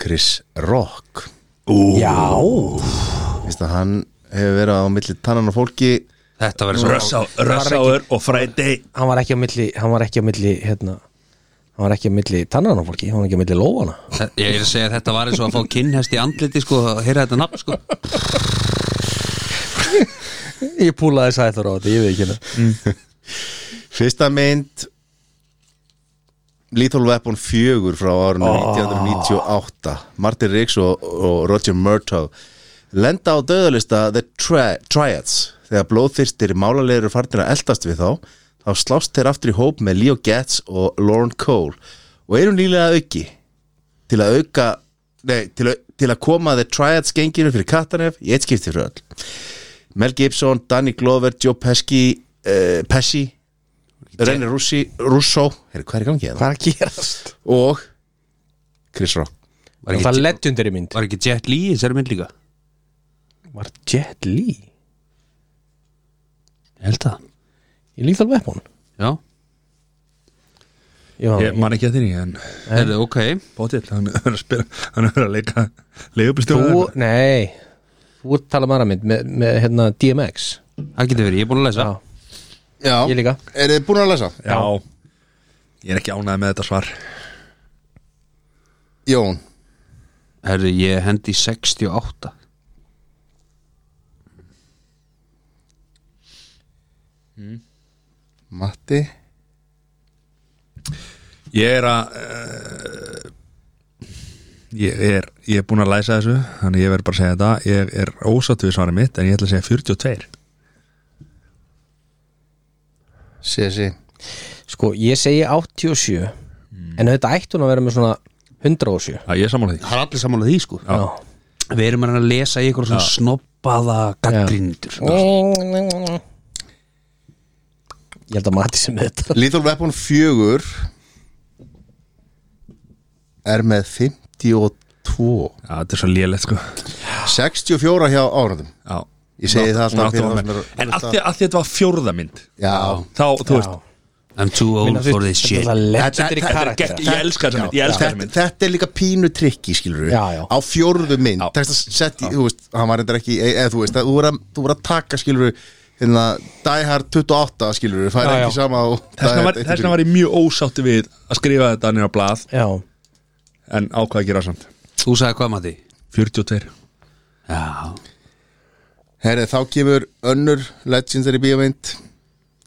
Chris Rock
já
Vist að hann hefur verið á milli tannan og fólki
[laughs] Þetta verður svo
Rössáður og Friday
Hann var ekki á milli, hann var ekki á milli hérna, hann var ekki á milli tannana fólki, hann var ekki á milli lófana
Ég er að segja að þetta var eins og að fá kinnhest í andliti sko, að heyra þetta nafn sko
Ég púlaði sæður á þetta, ég veit ekki hérna
Fyrsta mynd Lethal Weapon 4 frá árinu 1998 Martin Riggs og, og Roger Murtaugh lenda á döðalista The tri Triads þegar blóðþyrstir málarlegur farnir að eldast við þá þá slást þeir aftur í hóp með Leo Getz og Lauren Cole og eru nýlega auki til að auka nei, til, að, til að koma The Triads genginu fyrir Katanef í eitt skipti fyrir öll Mel Gibson, Danny Glover, Joe Pesci uh, Pesci René Russi, Russo heyrðu, hvað er í gangi hérna?
Hvað er að gerast?
og Chris Rock
Var
Það er
ekki,
legendary mynd
var ekki Jet Li í þessari mynd líka?
Var Jet Li?
Ég held það
Ég líkt alveg upp hún
Já,
Ég var
Ég man ekki að þinni en
er ok
Bótill, hann er að spila Hann er að leika Leigubistjóð
Þú, nei Þú ert að tala um aðra mynd með, með hérna DMX
Það getur verið, ég er búin að lesa
Já.
Já,
Ég líka.
Er þið búin að lesa?
Já Ég er ekki ánægð með þetta svar
Jón
Herðu, ég hendi 68
Matti
Ég er að uh, ég, er, ég er búin að læsa þessu Þannig ég verð bara að segja þetta Ég er ósatt við svarið mitt En ég ætla að segja 42
Sessi
Sko, ég segi 87 En þetta ætti hún að vera með svona 107
Já, ég er sammála því
Það er allir sammála því sko
Já.
Við erum að lesa í ykkur svona snoppaða gaggrindur
Ég held að mati sem þetta
Lethal Weapon 4 er með 52
Já, þetta er svo lélegt sko
64 hjá árandum
Já
Ég segi það alltaf fyrir þá sem
fyrir
eru-
En af því af því að þetta var fjórða mynd
Já,
Þá, þú veist
I'm too old for this shit
Þetta er
Þetta- þetta
legendary
er
karakter
gegn- Ég elska þessa mynd, ég elska þessa
þetta,
mynd
þetta er líka pínu trikki skilur við
Já, já.
á fjórðu mynd
Já.
tekst að setja, þú veist, hann var reyndar ekki eða þú veist, að þú voru að, þú voru að taka skilur við hérna, Die Hard 28 skilur við, fær
Já, já.
ekki sama á Die
Þessna
Hard
var,
1.
þessna var ég mjög ósátti við að skrifa þetta nýra blað
Já,
en ákvað að gera samt
Þú sagði hvað maður því?
42
Já,
Herri, þá kemur önnur legendary bíómynd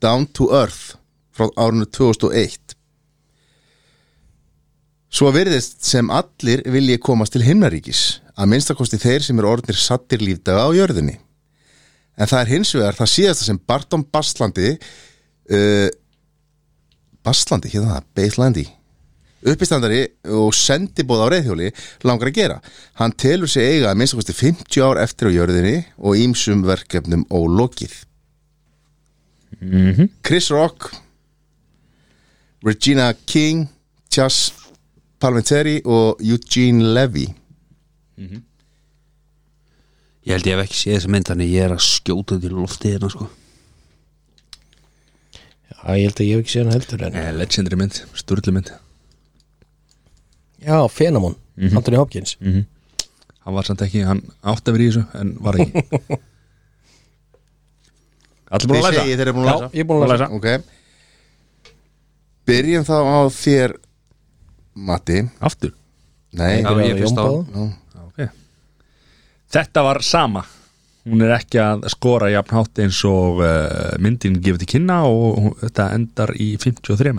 Down to Earth frá árinu 2001 Svo virðist sem allir vilji komast til himnaríkis að minnstakosti þeir sem eru orðnir sattir lífdaga á jörðinni En það er hins vegar það síðasta sem Barton Baslandi uh, Baslandi, hérna það, Baslandi uppistandari og sendibóð á reyðhjóli langar að gera. Hann telur sig eiga að minnstakosti 50 ár eftir á jörðinni og ýmsum verkefnum ólokið.
Mhm.
Chris Rock, Regina King, Chas Palmenteri og Eugene Levy.
ég held ég hef ekki séð þessa mynd Þannig ég er að skjóta til loftið hérna sko
Já, ég held að ég hef ekki séð hann heldur en
Eh, Legendary mynd, sturlu mynd
Mm-hmm. Já, Fenamon, Anthony Hopkins
Hann var samt ekki, hann átti að vera í þessu en var ekki [laughs] Allir búin
Þið
að læsa?
segi þeir eru búin
Já, ég
að
er búin að lesa
Ok. Byrjum þá á þér, Matti.
Aftur
Nei,
Já, ég fyrst á.
Já, okay. Þetta var sama Hún er ekki að skora jafn hátt eins og uh, myndin gefið til kynna og hún, þetta endar í 53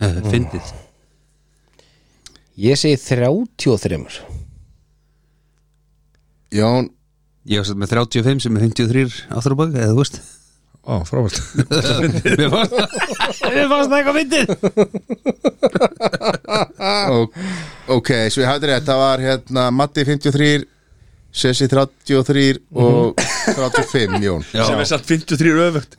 Eh, Fyndið
Ég segi 33
Jón,
Ég var satt með 35 sem er 53 aftur á bak Eða þú veist
Ó, frábært
Mér fannst það Mér fannst það eitthvað fyndið
Ó- Ok, svo ég hafði rétt Það var hérna Matti 53 Sessi 33 og 35 Jón
sem er satt 53 öfugt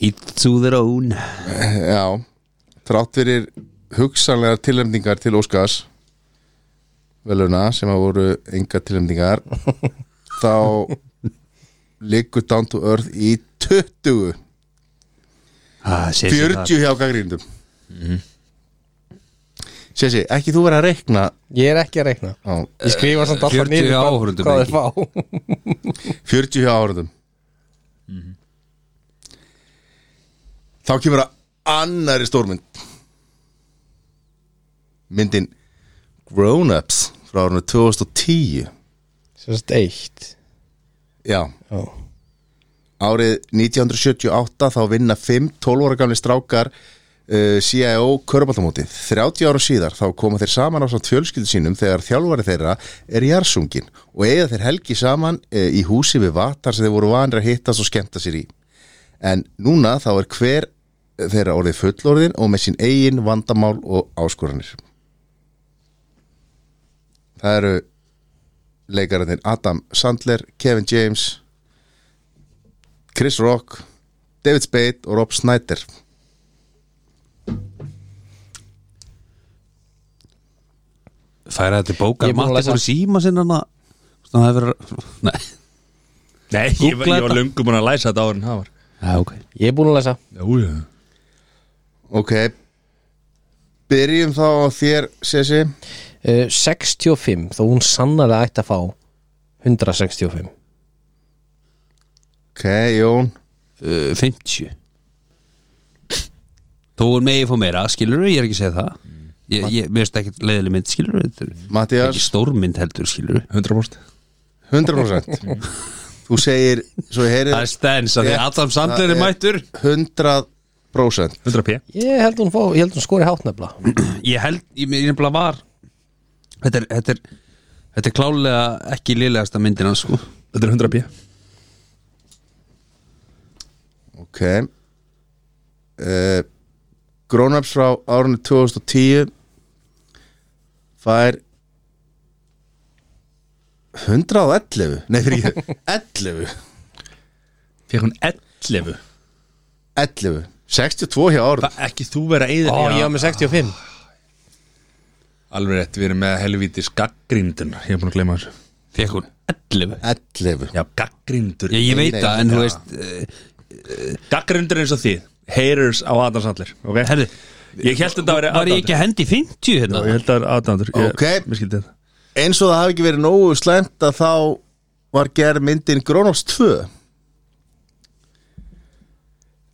Eat to their own
Já, þrátt fyrir hugsanlegar tilhemningar til Óskars veluna sem að voru enga tilhemningar þá liggur Down to Earth í 20
ah,
40 hjá gaggrindum mm -hmm. Sessi, ekki þú verið að reikna
Ég er ekki að reikna
á,
Ég skrifa samt alltaf
40
niður hvað,
áhorfendum,
hvað
Helgi.
þeir fá [laughs]
40 hjá áhörðum Mhm. Þá kemur að annari stórmynd Myndin Grown Ups frá árunni 2010
Sérst eitt
Já,
Já.
árið 1978 þá vinna 5 12 ára gamli strákar uh, CIO Körbaldamóti 30 ára síðar þá koma þeir saman á samt fjölskyldu sínum þegar þjálfari þeirra er jarsungin og eiga þeir helgi saman uh, í húsi við vatar sem þeir voru vanir að hittast og skemmta sér í en núna þá er hver þeirra orðið fullorðin og með sín eigin vandamál og áskoranir Það eru leikararnir Adam Sandler, Kevin James Chris Rock David Spade og Rob Snyder
Færa þetta til bóka
Ég er búin að
Matti
lesa-
fór í síma sinna Þannig að [laughs] það hefur Nei,
Nei, ég, var- ég var
þetta.
löngu búin að læsa þetta áður en það var
já, ok
Ég er búin að lesa
Já, já
Ok Byrjum þá á þér, Sessi
uh, 65, þó hún sannarlega ætti að fá 165
Ok, Jón
uh, 50 Þó er megið fór meira, skilur við, ég er ekki að segja það Ég, ég mér finnst ekki leiðileg mynd, skilur við Þetta er ekki
Mattias,
stórmynd heldur, skilur við
100%
[laughs]
100% Þú segir, svo ég heyri
Það er stens að því
Rétt,
Adam Sandler
það
er
er-
mættur
100%
100p
Ég held hún, fá, ég held hún skori hátnefla
Ég held, ég mér nefnilega var Þetta er, þetta er, þetta er klálega ekki lélegasta myndin hans sko
Þetta er 100p
Ok uh, Grónaps frá árunni 2010 fær 111 Nei, fyrir
[laughs]
ekki 11
Fekk hún 11
11 62 hjá árunni
Það ekki þú vera eða
Ó, ég var með 65
Alveg rétt, við erum með helvíti skaggrindin Ég er búin að gleyma þessu
Fekk hún 11
11
Já, gaggrindur
Ég, ég veit
Nei,
það, en þú
já.
veist uh,
Gaggrindur eins og þið Haters á Adam Sandler okay?
Herri,
Ég held að þetta væri
var ég ekki að hendi 50 hérna?
aðdáendur. Ég held að það væri aðdandur
Ok.
Mér skildi þetta
eins og það hafi ekki verið nógu slæmt að þá var gerð myndin Grónofs 2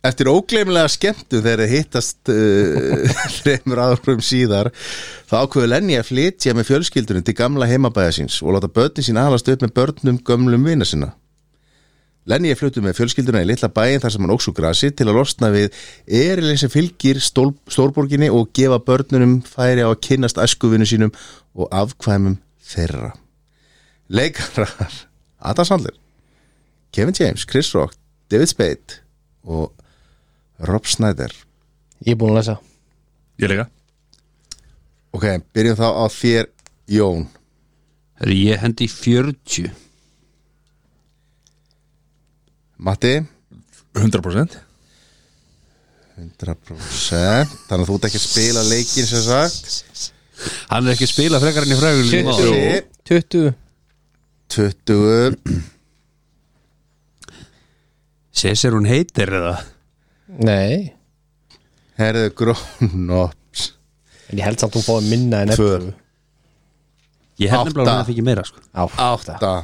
Eftir ógleimlega skemmtu þegar þeir hittast [laughs] uh, þreymur árum síðar þá ákveðu Lenny að flytja með fjölskyldunum til gamla heimabæða síns og láta börnin sín aðalast upp með börnum gömlum vina sína. Lenny er fluttu með fjölskylduna í litla bæin þar sem hann óksu grasi til að losna við erilinn sem fylgir stól, stórborginni og gefa börnunum færi á að kynnast æskuvinu sínum og afkvæmum þeirra. Leikarar [laughs] Adam Sandler, Kevin James, Chris Rock, David Spade og Rob Snyder.
Ég er búin að lesa
Ég leika
Ok, byrjum þá á þér Jón.
Herri, ég hendi 40
Matti,
100%
100% þannig að þú ert ekki að spila leikin sem sagt.
Hann er ekki að spila frekar enn í frægulíu
20, 20
20
Sessir hún heitir eða
Nei,
Herðu Grónops
en ég held samt hún fáið minna en
Tvö.
11.
Ég held nefnilega
Átta.
að hún fikk meira sko
Átta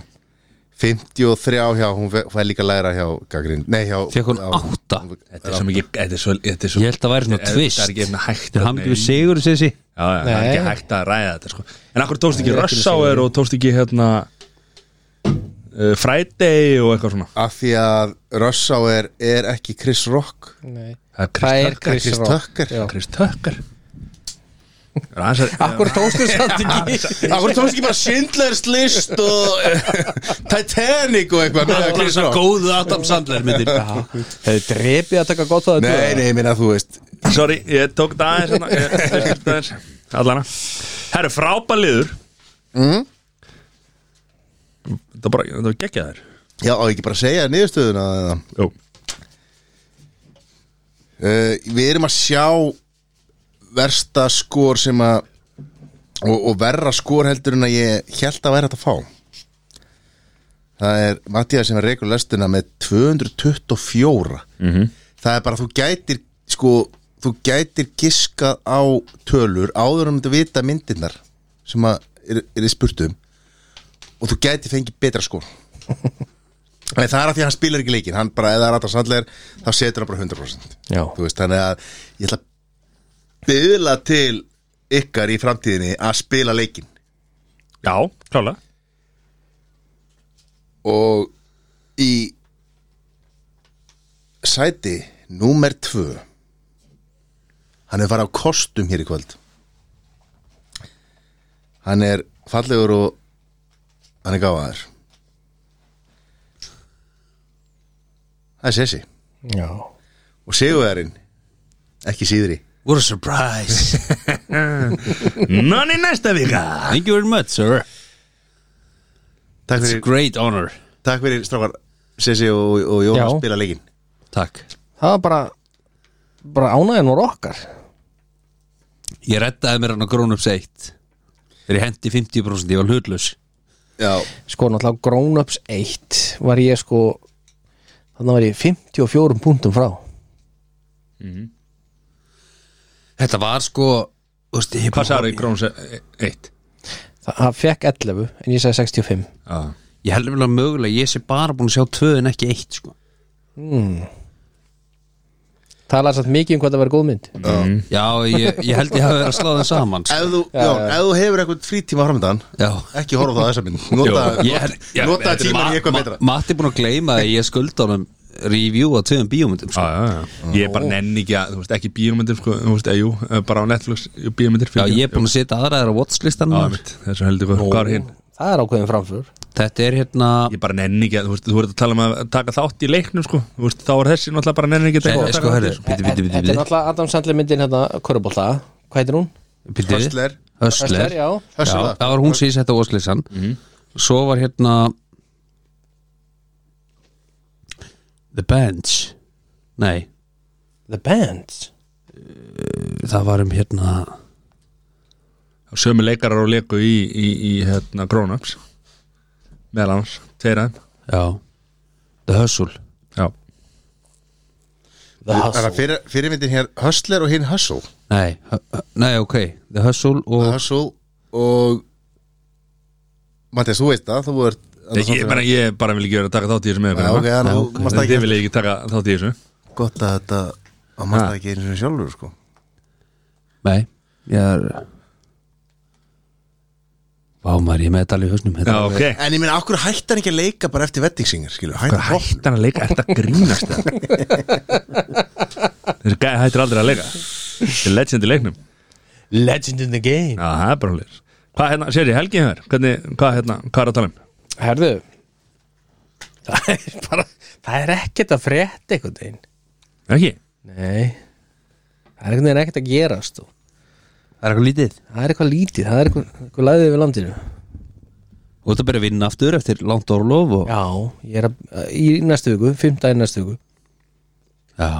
53 hjá, hún fe- fær líka að læra hjá Gagrind, nei hjá
Fekk hún
já,
8
Þetta er svo mikið Þetta er svo Þetta er svo
Ég held að væri svona
Þetta er-
twist
Það er ekki hérna hægt
Þetta er
þarna
hann við
í-
sigur Sessi
Já, já, það er
Nei.
ekki hægt að ræða þetta sko. En akkur tókst
Ég
ekki
er ekki með
Rushhour og tókst ekki hérna uh, Friday og eitthvað svona
Af því að Rossauer er ekki Chris Rock
Nei.
Það er
Það er
Chris Tucker
Chris Ah, Rock.
Chris Tucker
Já.
Chris Tucker Er aðeins að-
[laughs] Akkur tókstu samt ekki
Akkur tókst ekki bara Schindlers list og eh, Titanic og eitthvað með
Allar
Chris
þessar
Rock
góðu Adam Sandler myndir
Hefði drepið að taka gott það að
Nei, nei, ég minna þú veist
Sorry, ég tók þetta aðeins hérna, ég- ég tók þetta aðeins. Allana Herru, frábær liður
Mm.
Þetta bara, þetta var geggjað þær
Já, á ekki bara að segja niðurstöðuna eða?
Jú
uh, Við erum að sjá versta skor sem að og, og verra skor heldur en að ég held að væri hægt að fá Það er Mattias sem er reikur lestuna með 224 -hmm. Það er bara þú gætir sko, þú gætir giskað á tölur áður um þetta vita myndirnar sem að er, er spurt um og þú gætir fengið betra skor Nei, það er að því að hann spilar ekki leikinn hann bara, eða Rata Sandler, þá setur hann bara 100%
Já.
þú veist, þannig að ég ætla að byðla til ykkar í framtíðinni að spila leikinn
Já, klálega
og í sæti númer 2 hann er farið á kostum hér í kvöld hann er fallegur og hann er gáðaður það er Sessi
Já
og Sigurðarinn ekki síðri
What a surprise [laughs]
Nonni næsta vika
Thank you very much sir
takk
It's a
fyrir,
great honor
takk fyrir strákar Sessi og, og Jón
Já.
að spila leikinn
Takk
Það var bara bara ánæðin voru okkar
Ég reddaði mér hann á grónups 1 Þegar ég hendi 50% ég var hlutlaus
já,
Sko náttúrulega Grown Ups 1 var ég sko þannig var ég 54 punktum frá
Þetta var sko úst, ég,
Hvað sagði Gróns 1?
Það það fekk 11 en ég sagði 65
Já
ég held vel að mögulega ég sé bara búin að sjá tvö en ekki eitt sko.
Talaði satt mikið um hvað það var góð mynd
Já, ég, ég held ég hafi verið að slá það saman sko.
ef þú, já, ef þú hefur eitthvað frítíma framöndan
Já
ekki horfa á það þessa mynd nota,
Ég held-
nota,
ég-
nota
þetta er
tíman í
Ma-
eitthvað
Ma-
betra
Matti er búin að gleyma að ég skulda honum review á tveim bíómyndum sko.
Ég bara nenni ekki að, þú veist, ekki bíómyndir sko, þú veist, eh, jú, eh, bara á Netflix bíómyndir
Já, ég er búin að setja aðraðar á watchlistan
Já,
maður.
mitt, þessu heldur hvað, hvað er hinn?
Það er ákveðin framför
Þetta er hérna
Ég bara nenni ekki að, þú veist, þú verður að tala um að taka þátt í leiknum, sko, þú veist, þá er þessi náttúrulega bara nenni ekki að
Nei,
taka
sko, herri,
þátt í þessu.
bíti,
Þetta
bíti,
er náttúrulega Adam Sandler myndin hérna Körubólta, hvað heitir hún?
bíti
Hustler.
Höstler
Hustler, já.
Hustler.
Það var hún sem ég setja á watchlistan Svo var hérna The Bench Nei,
The Bands
það var um hérna
Sömu leikarar og leiku í, í, í hérna, Grown-Ups meðal annars, tveir aðeim
Já The Hustle
Já,
The
Þannig að
Hustle
fyrir, fyrirmyndin hér Hustler og hinn Hustle
Nei, hu- hu- nei ok The Hustle og
Hustle og Mattias, þú veist það, þú ert
ég, ég, bara, ég bara vil ekki vera að taka þátt í þessu með
Já, ok, þannig að
ok.
þú mást
Þið
ekki
vil ekki taka þátt í þessu
gott að þetta að mást það ekki einu sinni sjálfur sko
Nei, ég er Vá maður, ég er með þetta alveg í hausnum
Já,
hérna.
ok
En ég meina, okkur hættar ekki að leika bara eftir vettingsingar, skilur, hættar hótt
Hættan að leika, þetta grínast það Þessi gæði hættir aldrei að leika Þetta er legend í leiknum Já,
Legend in the game
það er bara hlir Hvað hérna, sér ég, helgið hér? Hvernig, hvað hérna, hvað er að tala um?
Herðu Það er bara Það er ekkert að frétta einhvern veginn
Ekki?
Nei Það er einhvern veginn ekkert að gerast og
Það er eitthvað lítið
Það er eitthvað lítið, það er eitthvað, eitthvað læðið við landinu
Og þetta byrja að vinna aftur eftir langt orlof og...
Já, ég er að, í næstu viku, fimmtæði næstu viku
Já,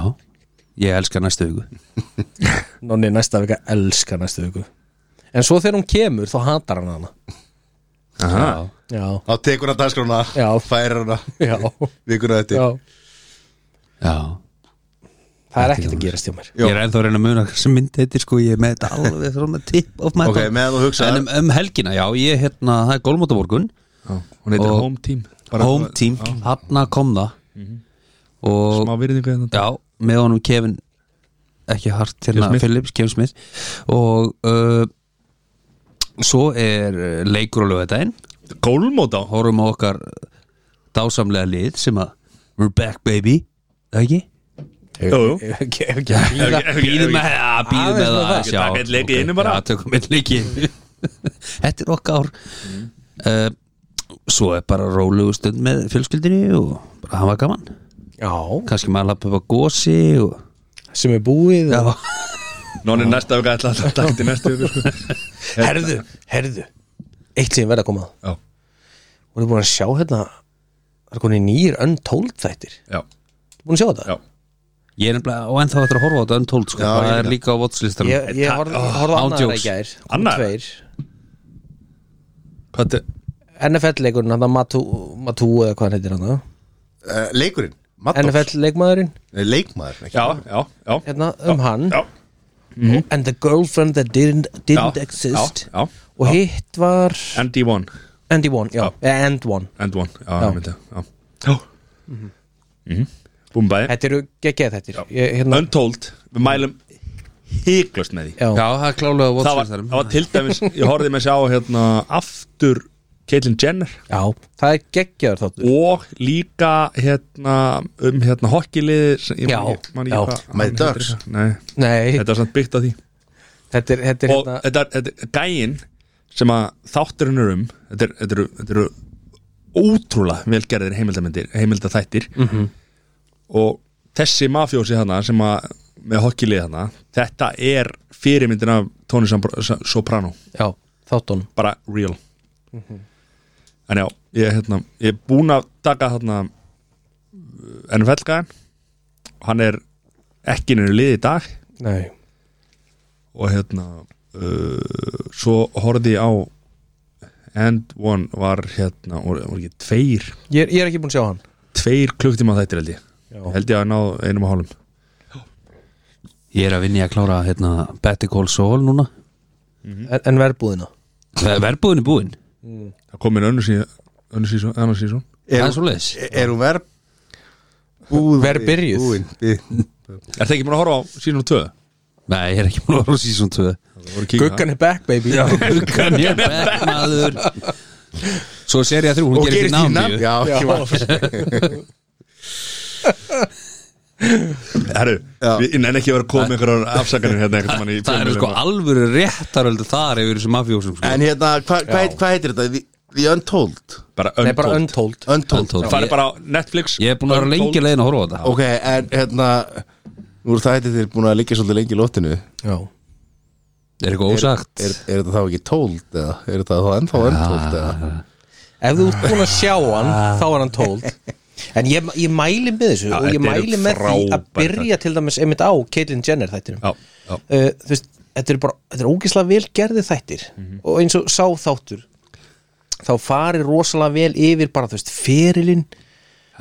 ég elska næstu viku
Nonni næsta vika elskar næstu viku En svo þegar hún kemur, þá hatar hann hana
Aha,
Já.
Já,
Þá tekur hann dagskrána,
Já.
færir hana
[laughs] já,
vikuna eftir
já
Já,
Það er ekkert að gerast hjá mér
Já.
ég er ennþá að reyna að muna sem mynd heitir sko, ég er með þetta alveg frá með tip of my
Ok,
tongue.
meðan þú hugsaðar.
En um, um helgina, já, ég hérna, það er gólmótavorgun
hún heitir
Og-
Home Team
Home Team, hann að kom það Og
Smá virðingu hérna
Já, með honum Kevin ekki hart hérna
Smith.
Phillips, Kevin Smith og uh, svo er uh, leikur á lögadaginn
Gólmót á
horfum á okkar uh, dásamlega lið sem að we're back baby, það ekki?
Jú, jú.
[laughs] Býða
Ef ekki-
Býðum með það, býðum
Aðeins
með
með
það
það.
að sjá.
Taka einn leik í
Ok,
einu bara.
Já, tökum einn leik í einu. [laughs] Þetta er okkar uh, Svo er bara rólugu stund með fjölskyldinni og bara hafa gaman
Já,
kannski maður lappa upp á gósi og...
sem er búið
Já,
og...
Nóni næsta vika ætla að taka til næstu viku sko.
Herðu, herðu Eitt sem ég verð að koma að
Já,
Voru búin að sjá hérna Það er konið nýjir önn tólf þættir
já,
Búin að sjá þetta?
já
Ég er nefnilega, og ennþá þetta að horfa á þetta Untold, sko,
Já,
það
ég
er
líka.
líka á watchlistanum
Ég, ég horfði
Oh,
horf annar í
ándjóks.
gær
Annar?
Annar? Tveir
Hvað er
NFL-leikurinn, hann að Matú, Matú eða hvað hann heitir hann það?
uh, Leikurinn, Mattov
NFL-leikmaðurinn
Nei, Leikmaður ekki.
Já, já, já
hérna um hann
Já, Mhm.
and the girlfriend that didn't, didn't
já,
exist
Já, já
og hitt var
Andy One
Andy One, já, eh, And One
And One, já, já, myndi, já Já Mhm. Búum bæði
Þetta eru geggið þetta hérna,
Untold, við mælum hygglust með því
já,
Já, það er klálega á
það var,
watchlistanum
það var til dæmis, ég horfði með sér á hérna, aftur Caitlyn Jenner
já, það er geggjaður þáttur
og líka hérna, um hérna hokkilið sem- ég man
Já,
ekki- man ekki
já.
hvað- hann
Mighty
heitir
Ducks.
eitthvað. Nei,
Nei,
þetta er samt byggt á því
þetta er, þetta er
og
hérna
þetta, er- þetta er gæinn sem að þátturinn er um þetta er- þetta eru þetta eru ótrúlega velgerðir heimildamindir heimildaþættir
Mhm.
-hmm. og þessi mafjósi hana sem að með hokkilið hana, þetta er fyrirmyndin af Tony Sambr- Sa- Soprano
Já, þáttunum
bara real en já, ég er hérna ég er búinn að taka þarna eh, NFL-gæðan hann er ekki nýri liði í dag
Nei,
og hérna uh, svo horfði ég á and one var hérna voru voru ekki tveir
ég er, ég er ekki búinn að sjá hann
tveir klukktíma þættir held ég
Já.
held ég að ná einum og hálfum
Ég er að vinja að klára, hérna, Betty Call Saul núna
Mhm.
En, en verðbúðina
Ver- Verðbúðin er búin
það kom inn önnur síðan önnur síðan, annar síðan
Það
Er,
er svo leiðis
er, E- er hún verð Búð
Verbyrjuð.
Búin Bið-
er það ekki búin að horfa á síðan og tvö
Nei, ég er ekki múin að horfa á season 2
Guggan er back baby já.
Guggan er bekkmaður Svo serið að þrjú, hún
Og
gerir því
gerist í namn
námi
Já, ég var-
herru
Já.
við- en ekki að vera komið einhverjar afsakanir hérna einhvern mann í
Það eru sko alvöru réttaröldu þar yfir þessum mafjósum sko.
En hérna, hvað hva, hva heitir þetta? The, the Untold
bara
Nei, bara
untold
untold
Untold,
Untold.
farið bara á Netflix
Ég er búin að vera lengi leiðin að horfa á þetta
Ok, en hérna Nú eru það heitir þeir búin að liggja svolítið lengi í lóttinu Er,
Já,
Er eitthvað ósagt
er þetta þá ekki told eða? Er þetta þá ennþá untold eða?
ef þú ert búinn að sjá hann þá er hann told en ég, ég mæli með þessu
Ah. Já,
og ég
þetta eru
mæli með því að
frábær
byrja til dæmis einmitt á Caitlyn Jenner þættinum
já, já.
uh, þú veist, þetta er bara þetta er ógislega vel gerði þættir
Mhm.
og eins og sá þáttur þá farir rosalega vel yfir bara þú veist, ferilinn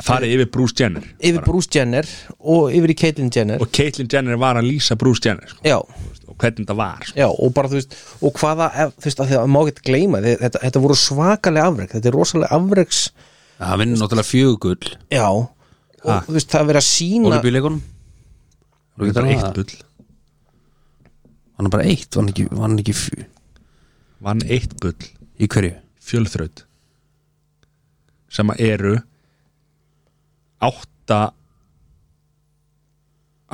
farið yfir Bruce Jenner
yfir Bruce Jenner og yfir í Caitlyn Jenner
og Caitlyn Jenner var að lýsa Bruce Jenner sko,
já,
og hvernig það var sko.
já, og bara þú veist og hvaða, ef- þú veist, að því að má ekki gleyma þið- þetta, þetta voru svakalega afrek, þetta er rosalega afreks
Það vinnur náttúrulega fjögugull
já, og
Ha.
þú veist, það er verið að sína
Olubíleikunum Var
það var
ekki
eitt
það?
gull
Var hann bara eitt, var hann ekki, var hann ekki fjö...
vann eitt gull
Í hverju?
fjölþraut sem að eru átta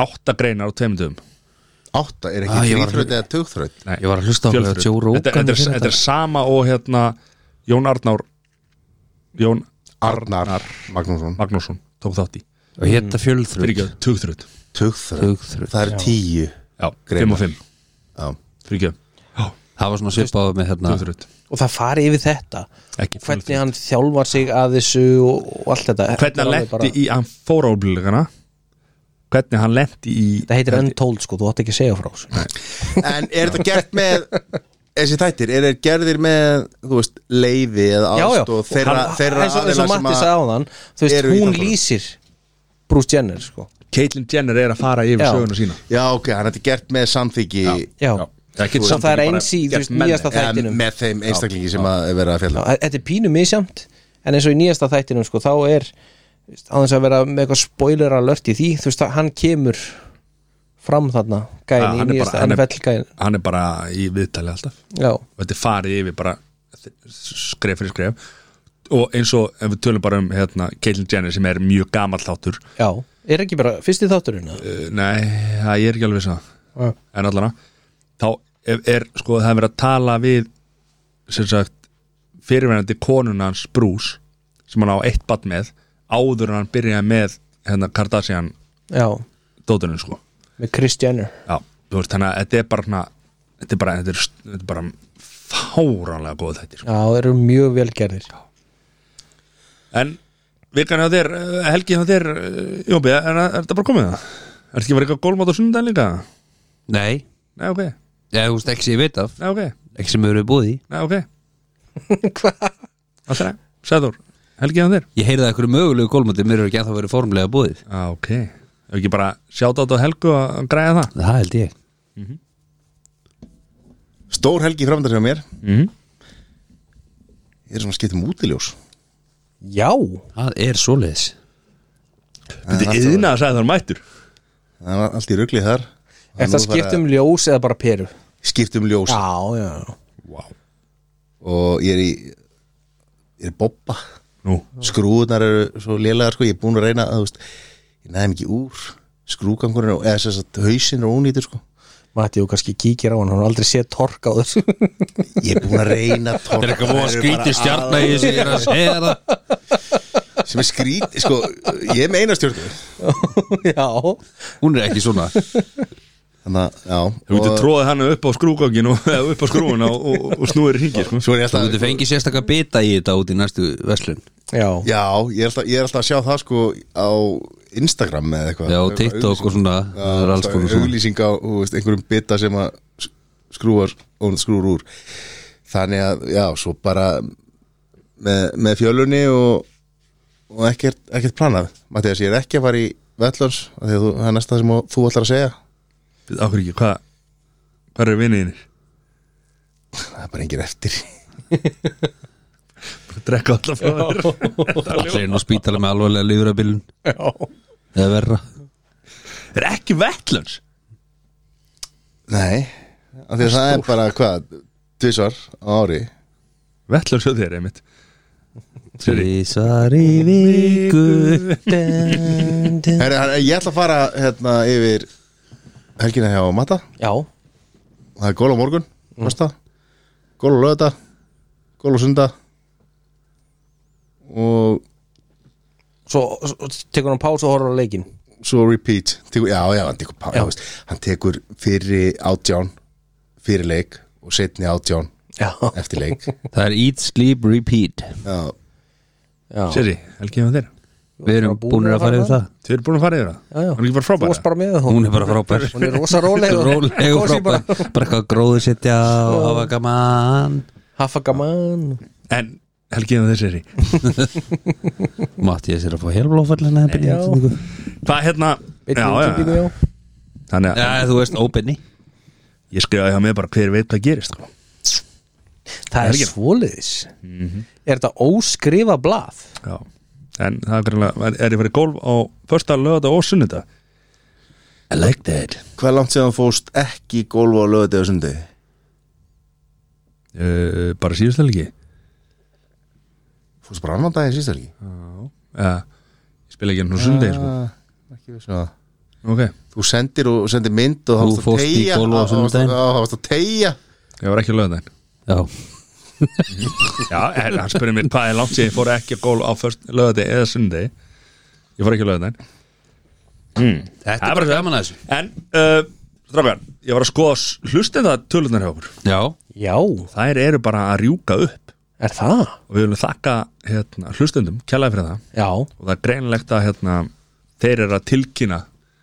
átta greinar á tveimundum
Átta, er
Ah,
ekki
ég var-
þrýþraut eða tugþraut?
Nei,
Ég var að hlusta á hvað
fjölþraut.
Joe Rogan
þetta, þetta, er,
gerir
þetta er sama og hérna Jón Arnár Jón
Arnar Magnússon
Magnússon tók þátt í
Og hérna fjölþröð
fyrirgjöð, tugþraut
Tugþraut
Tugþraut.
Það er tíu
já,
Greinar.
5 og 5,
Já
fyrirgjöð
Það var svona svipað með hérna
tugþraut,
og það fari yfir þetta
ekki
hvernig
fjölþraut
hann þjálfar sig að þessu og, og allt þetta
hvernig
Þetta er
hann
alveg bara-
lendi í, hann fór á bílugana hvernig hann lendi í
Þetta heitir untold sko, þú átt ekki að segja frá þessu.
En er þetta gert með Þessi þættir, er þetta gerðir með Þú veist, leiði eða
Já, já,
aðstóð Þeirra,
Hann-
þeirra
eins og, eins
aðila
og
sem
Matti
að-
sagði á þann Þú veist,
eru í
hún
þáttunum.
lýsir Bruce Jenner sko
Caitlyn Jenner er að fara yfir
Já.
söguna sína
Já, ok, hann er þetta gert með samþyggi
Já,
það,
Og það er eins í, þú veist, nýjasta þættinum
Með þeim einstaklingi sem að er verið
Já,
að
e-
fjalla
Þetta er pínu misjamt En eins og í nýjasta þættinum sko, þá er á þess að vera með eitthvað spoiler alert í því, þú veist, hann kemur fram þarna,
Ja,
gæin
hann
í
er bara-
nýjasta
hann er-
NFL gæin
hann er bara í viðtali alltaf
Já,
og þetta er farið yfir bara skref fyrir skref og eins og ef við tölum bara um hérna, Caitlyn Jenner sem er mjög gamall þáttur
já, er ekki bara fyrsti þátturinn eða?
uh, nei, það er ekki alveg svo
Já.
en allana þá er, er sko það er verið að tala við sem sagt fyrirverandi konuna hans Bruce sem hann á eitt bann með áður en hann byrjaði með hérna, Kardashian
Já,
dótunum sko
með Kris Jenner
Já, þú veist, þannig að þetta er bara svona- þetta er bara, þetta er, þetta er bara fáránlega góð þetta sko.
Já, þeir eru mjög velgerðir
en vikan hjá þér, eh, helgi hjá þér eh, Jóbi, er, er þetta bara komið það? Ertu ekki að vera eitthvað gólmátt á sunnudaginn líka?
Nei,
Nei, ok, nei,
ég, þú veist ekki sem ég veit af
ok,
Ekki sem eru búið í
nei, ok
[laughs] Hvað?
Allt er að, Sæður, helgið hann þér
Ég heyrði að einhverju mögulegu gólmöndi Mér eru ekki að það verið formlega búið
Já, ok, ef ekki bara sjáta á helgu að græja það
Það held ég
Stór helgi framöndar hjá mér
mm -hmm.
Ég er svona skipt um útiljós
Já
Það er svoleiðis
Þetta er yðna að Sæður mættur
Það er allt í ruglið þar
Er það skipt um ljós eða bara peru?
Skipt um ljós
Já, já, já
wow.
Og ég er í Ég er í bobba
Nú,
Skrúðunar eru svo lélegar sko Ég er búin að reyna að þú veist Ég næði mikið úr Skrúgangurinn og- Eða þess að hausin er ónýtur sko
Matti, þú kannski kíkir á hann, hann har aldrei séð torka á þessu
Ég er búin að reyna
Það er eitthvað að
eru
skríti
bara
stjarnar í þessu Ég er að segja það
að- Sem er skrít Sko, ég er með eina stjórn
[laughs] Já,
Hún er ekki svona
Þannig að, já
þú getur
og-
tróðið hann upp á skrúgangin og eða upp á skrúuna og, og, og snúir hringi sko.
Svo er ég
Þú
alltaf
getur fengið sérstakka bita í þetta út í næstu verslun
já,
Já, ég er, alltaf, ég er alltaf að sjá það sko á Instagram eða eitthvað
Já,
Eitthvað
TikTok og
auglýsing.
svona
Já,
Það er alls
alltaf
konar svona
Auglýsing á þú veist, einhverjum bita sem að s- skrúar og skrúar úr Þannig að, já, svo bara með, með fjölunni og, og ekkert, ekkert planað Mattias, ég er ekki að fara í Vellans Þegar þú, það er næsta sem þú ætlar að segja
Ákveð ekki, hvað Hvað eru vinniðinir?
Það er bara engin eftir
Drekka alltaf frá þér
Það er nú spítala með alvarlega lífurabilun
já
Eða verra
Er ekki vettlans?
Nei, af því að það er bara hvað, tvisvar á ári
Vettlans hjá þér, einmitt Sorry.
Tvísar í viku
Herri, hann- ég ætla að fara hérna yfir helgina hjá Matta
Já,
Það er gól á morgun, næsta Gól á lögða, gól á sunda Og
svo, svo tekur hann pás og horfður á leikin
svo repeat tekur, Já, já, hann tekur, pá-
Já.
já. Veist, hann tekur fyrir átján Fyrir leik og setni átján
Já,
Eftir leik
Það er eat, sleep, repeat
já,
já
Siri, helgið hann þér
Við erum búinir að fara yfir það
Þið eru búin að fara yfir það?
Já, já.
Hann er ekki bara
Þú varst
frábæra?
bara með hún
Hún er bara frábær
Hún er rosa [laughs] róleg og-
Róleg og
kósí
frábær
bara.
Bara eitthvað gróður sitja og hafa gaman
Hafa gaman
En helgið hann þér, Siri
Mattias er að fá helblófallina
Já.
Hvað hérna?
Beinni útsendingu, já.
Þannig að
Já, þú veist, óbyrni
ég skrifaði það með bara hver veit hvað gerist sko.
Það er
Helgina.
svoliðis Er þetta óskrifa blað?
Já En það er greinlega, er- er ég farið í golf á Fösta lögða og sunnudag I like that
Hvað er langt sem hann fóst ekki gólf á lögða og sundi?
uh, Bara síðust helgi
Fóst bara annan daginn síst helgi
Já Ég spila ekki nú sundi sko.
Ah, Ekki við svona
Ok,
þú sendir og sendir mynd
Þú
og þá varst að
fórst í
teygja-
golf á
á- á-
sunnudaginn.
á- þá varst að tegja
ég var ekki á lögðan
Já,
Já, en hann spurði mér hvað er langt sér ég fór ekki á golf á Fösta lögða eða sundi Ég fór ekki á lögðan mm.
þetta
er
er bara gaman að þessu
En, uh, strákar, ég var að skoða hlustenda tölunar hjá okkur
Já,
Já,
Þær eru bara að rjúka upp
er það?
og við viljum þakka hérna, hlustendum, kjallaði fyrir það
Já,
og það er greinlegt að hérna, þeir eru að tilkynna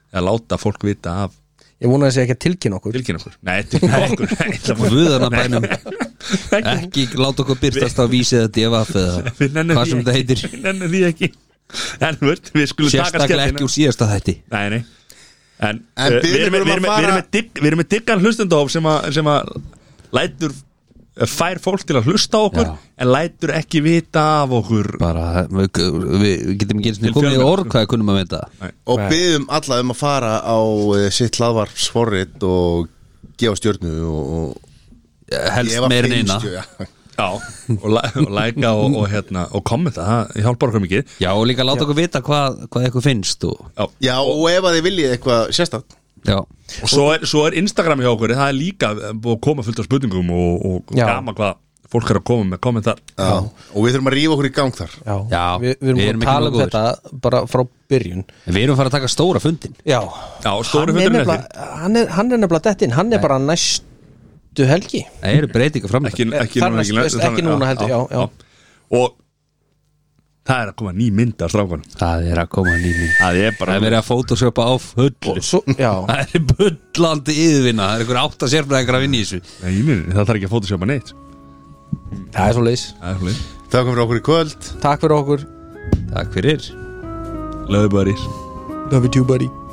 eða láta fólk vita af
ég vona að þessi ekki að tilkynna okkur
tilkynna okkur Nei, tilkynna okkur Nei, það var-
vöðana bænum
Ekki-
Ekki láta okkur byrtast á vísið að djöfa eða
Við nennum
Hvað sem
því ekki.
þetta heitir
Við nennum því ekki En þú veist, við skulum taka
Sérstaklega
skellina
ekki úr síðasta þætti
Nei, nei En,
En
uh,
við
við erum með-
erum
við erum með-
að
við erum
fara-
með digg- við erum með diggan hlustendahóp sem, að- sem að lætur eh, fær fólk til að hlusta á okkur
Já.
en lætur ekki vita af okkur
Bara, við, við getum ekki einu sinni
Til
komið í
fjölmiðla. sko.
orð hvað við kunnum að mynda
og
Nei.
byggðum alla um að fara á eh, sitt hlaðvarp svorrit og gefa stjörnu og, og
Helst
gefa
meir en eina
sko.
finnstjö- já.
Já, og, læ og læka og, og, hérna, og kommenta, það hjálpar okkur mikið
Já, og líka láta okkur vita hvað, hvað eitthvað finnst og,
Já.
já og ef að þið viljið eitthvað sérstætt
Já,
Og svo er, svo er Instagram hjá okkur, það er líka eh, búið að koma fullt af spurningum og, og
Já.
gama hvað fólk er að koma með kommentar
og við þurfum að rífa okkur í gang þar
Já,
Já,
við, við erum,
við
að
erum ekki
tala um
nógu
þetta bara frá byrjun
En við erum fara að taka stóra fundin
Já,
Já, stóri
hann, er
fundurinn eftir
nefnilega, hann, er, hann er nefnilega dettin, hann er bara næstu [laughs] helgi
Það eru breytingar framöndan
Ekki, ekki,
Þar
núna,
næst- ekki núna heldur, já, já.
Og Það er að koma ný mynd af strákunum
Það er að koma nými
Það er
Það er verið að photoshopa á fullu
Svo, já,
Það er bullandi yðvinna Það er einhver átta sérfræðingar að vinna í þessu
Nei, ég minn, það þarf ekki að fótusjópa neitt
það er svo leis
Það er hlut
Það kom fyrir okkur í kvöld
Takk fyrir okkur
Takk fyrir
Löðu bara í
Love you buddy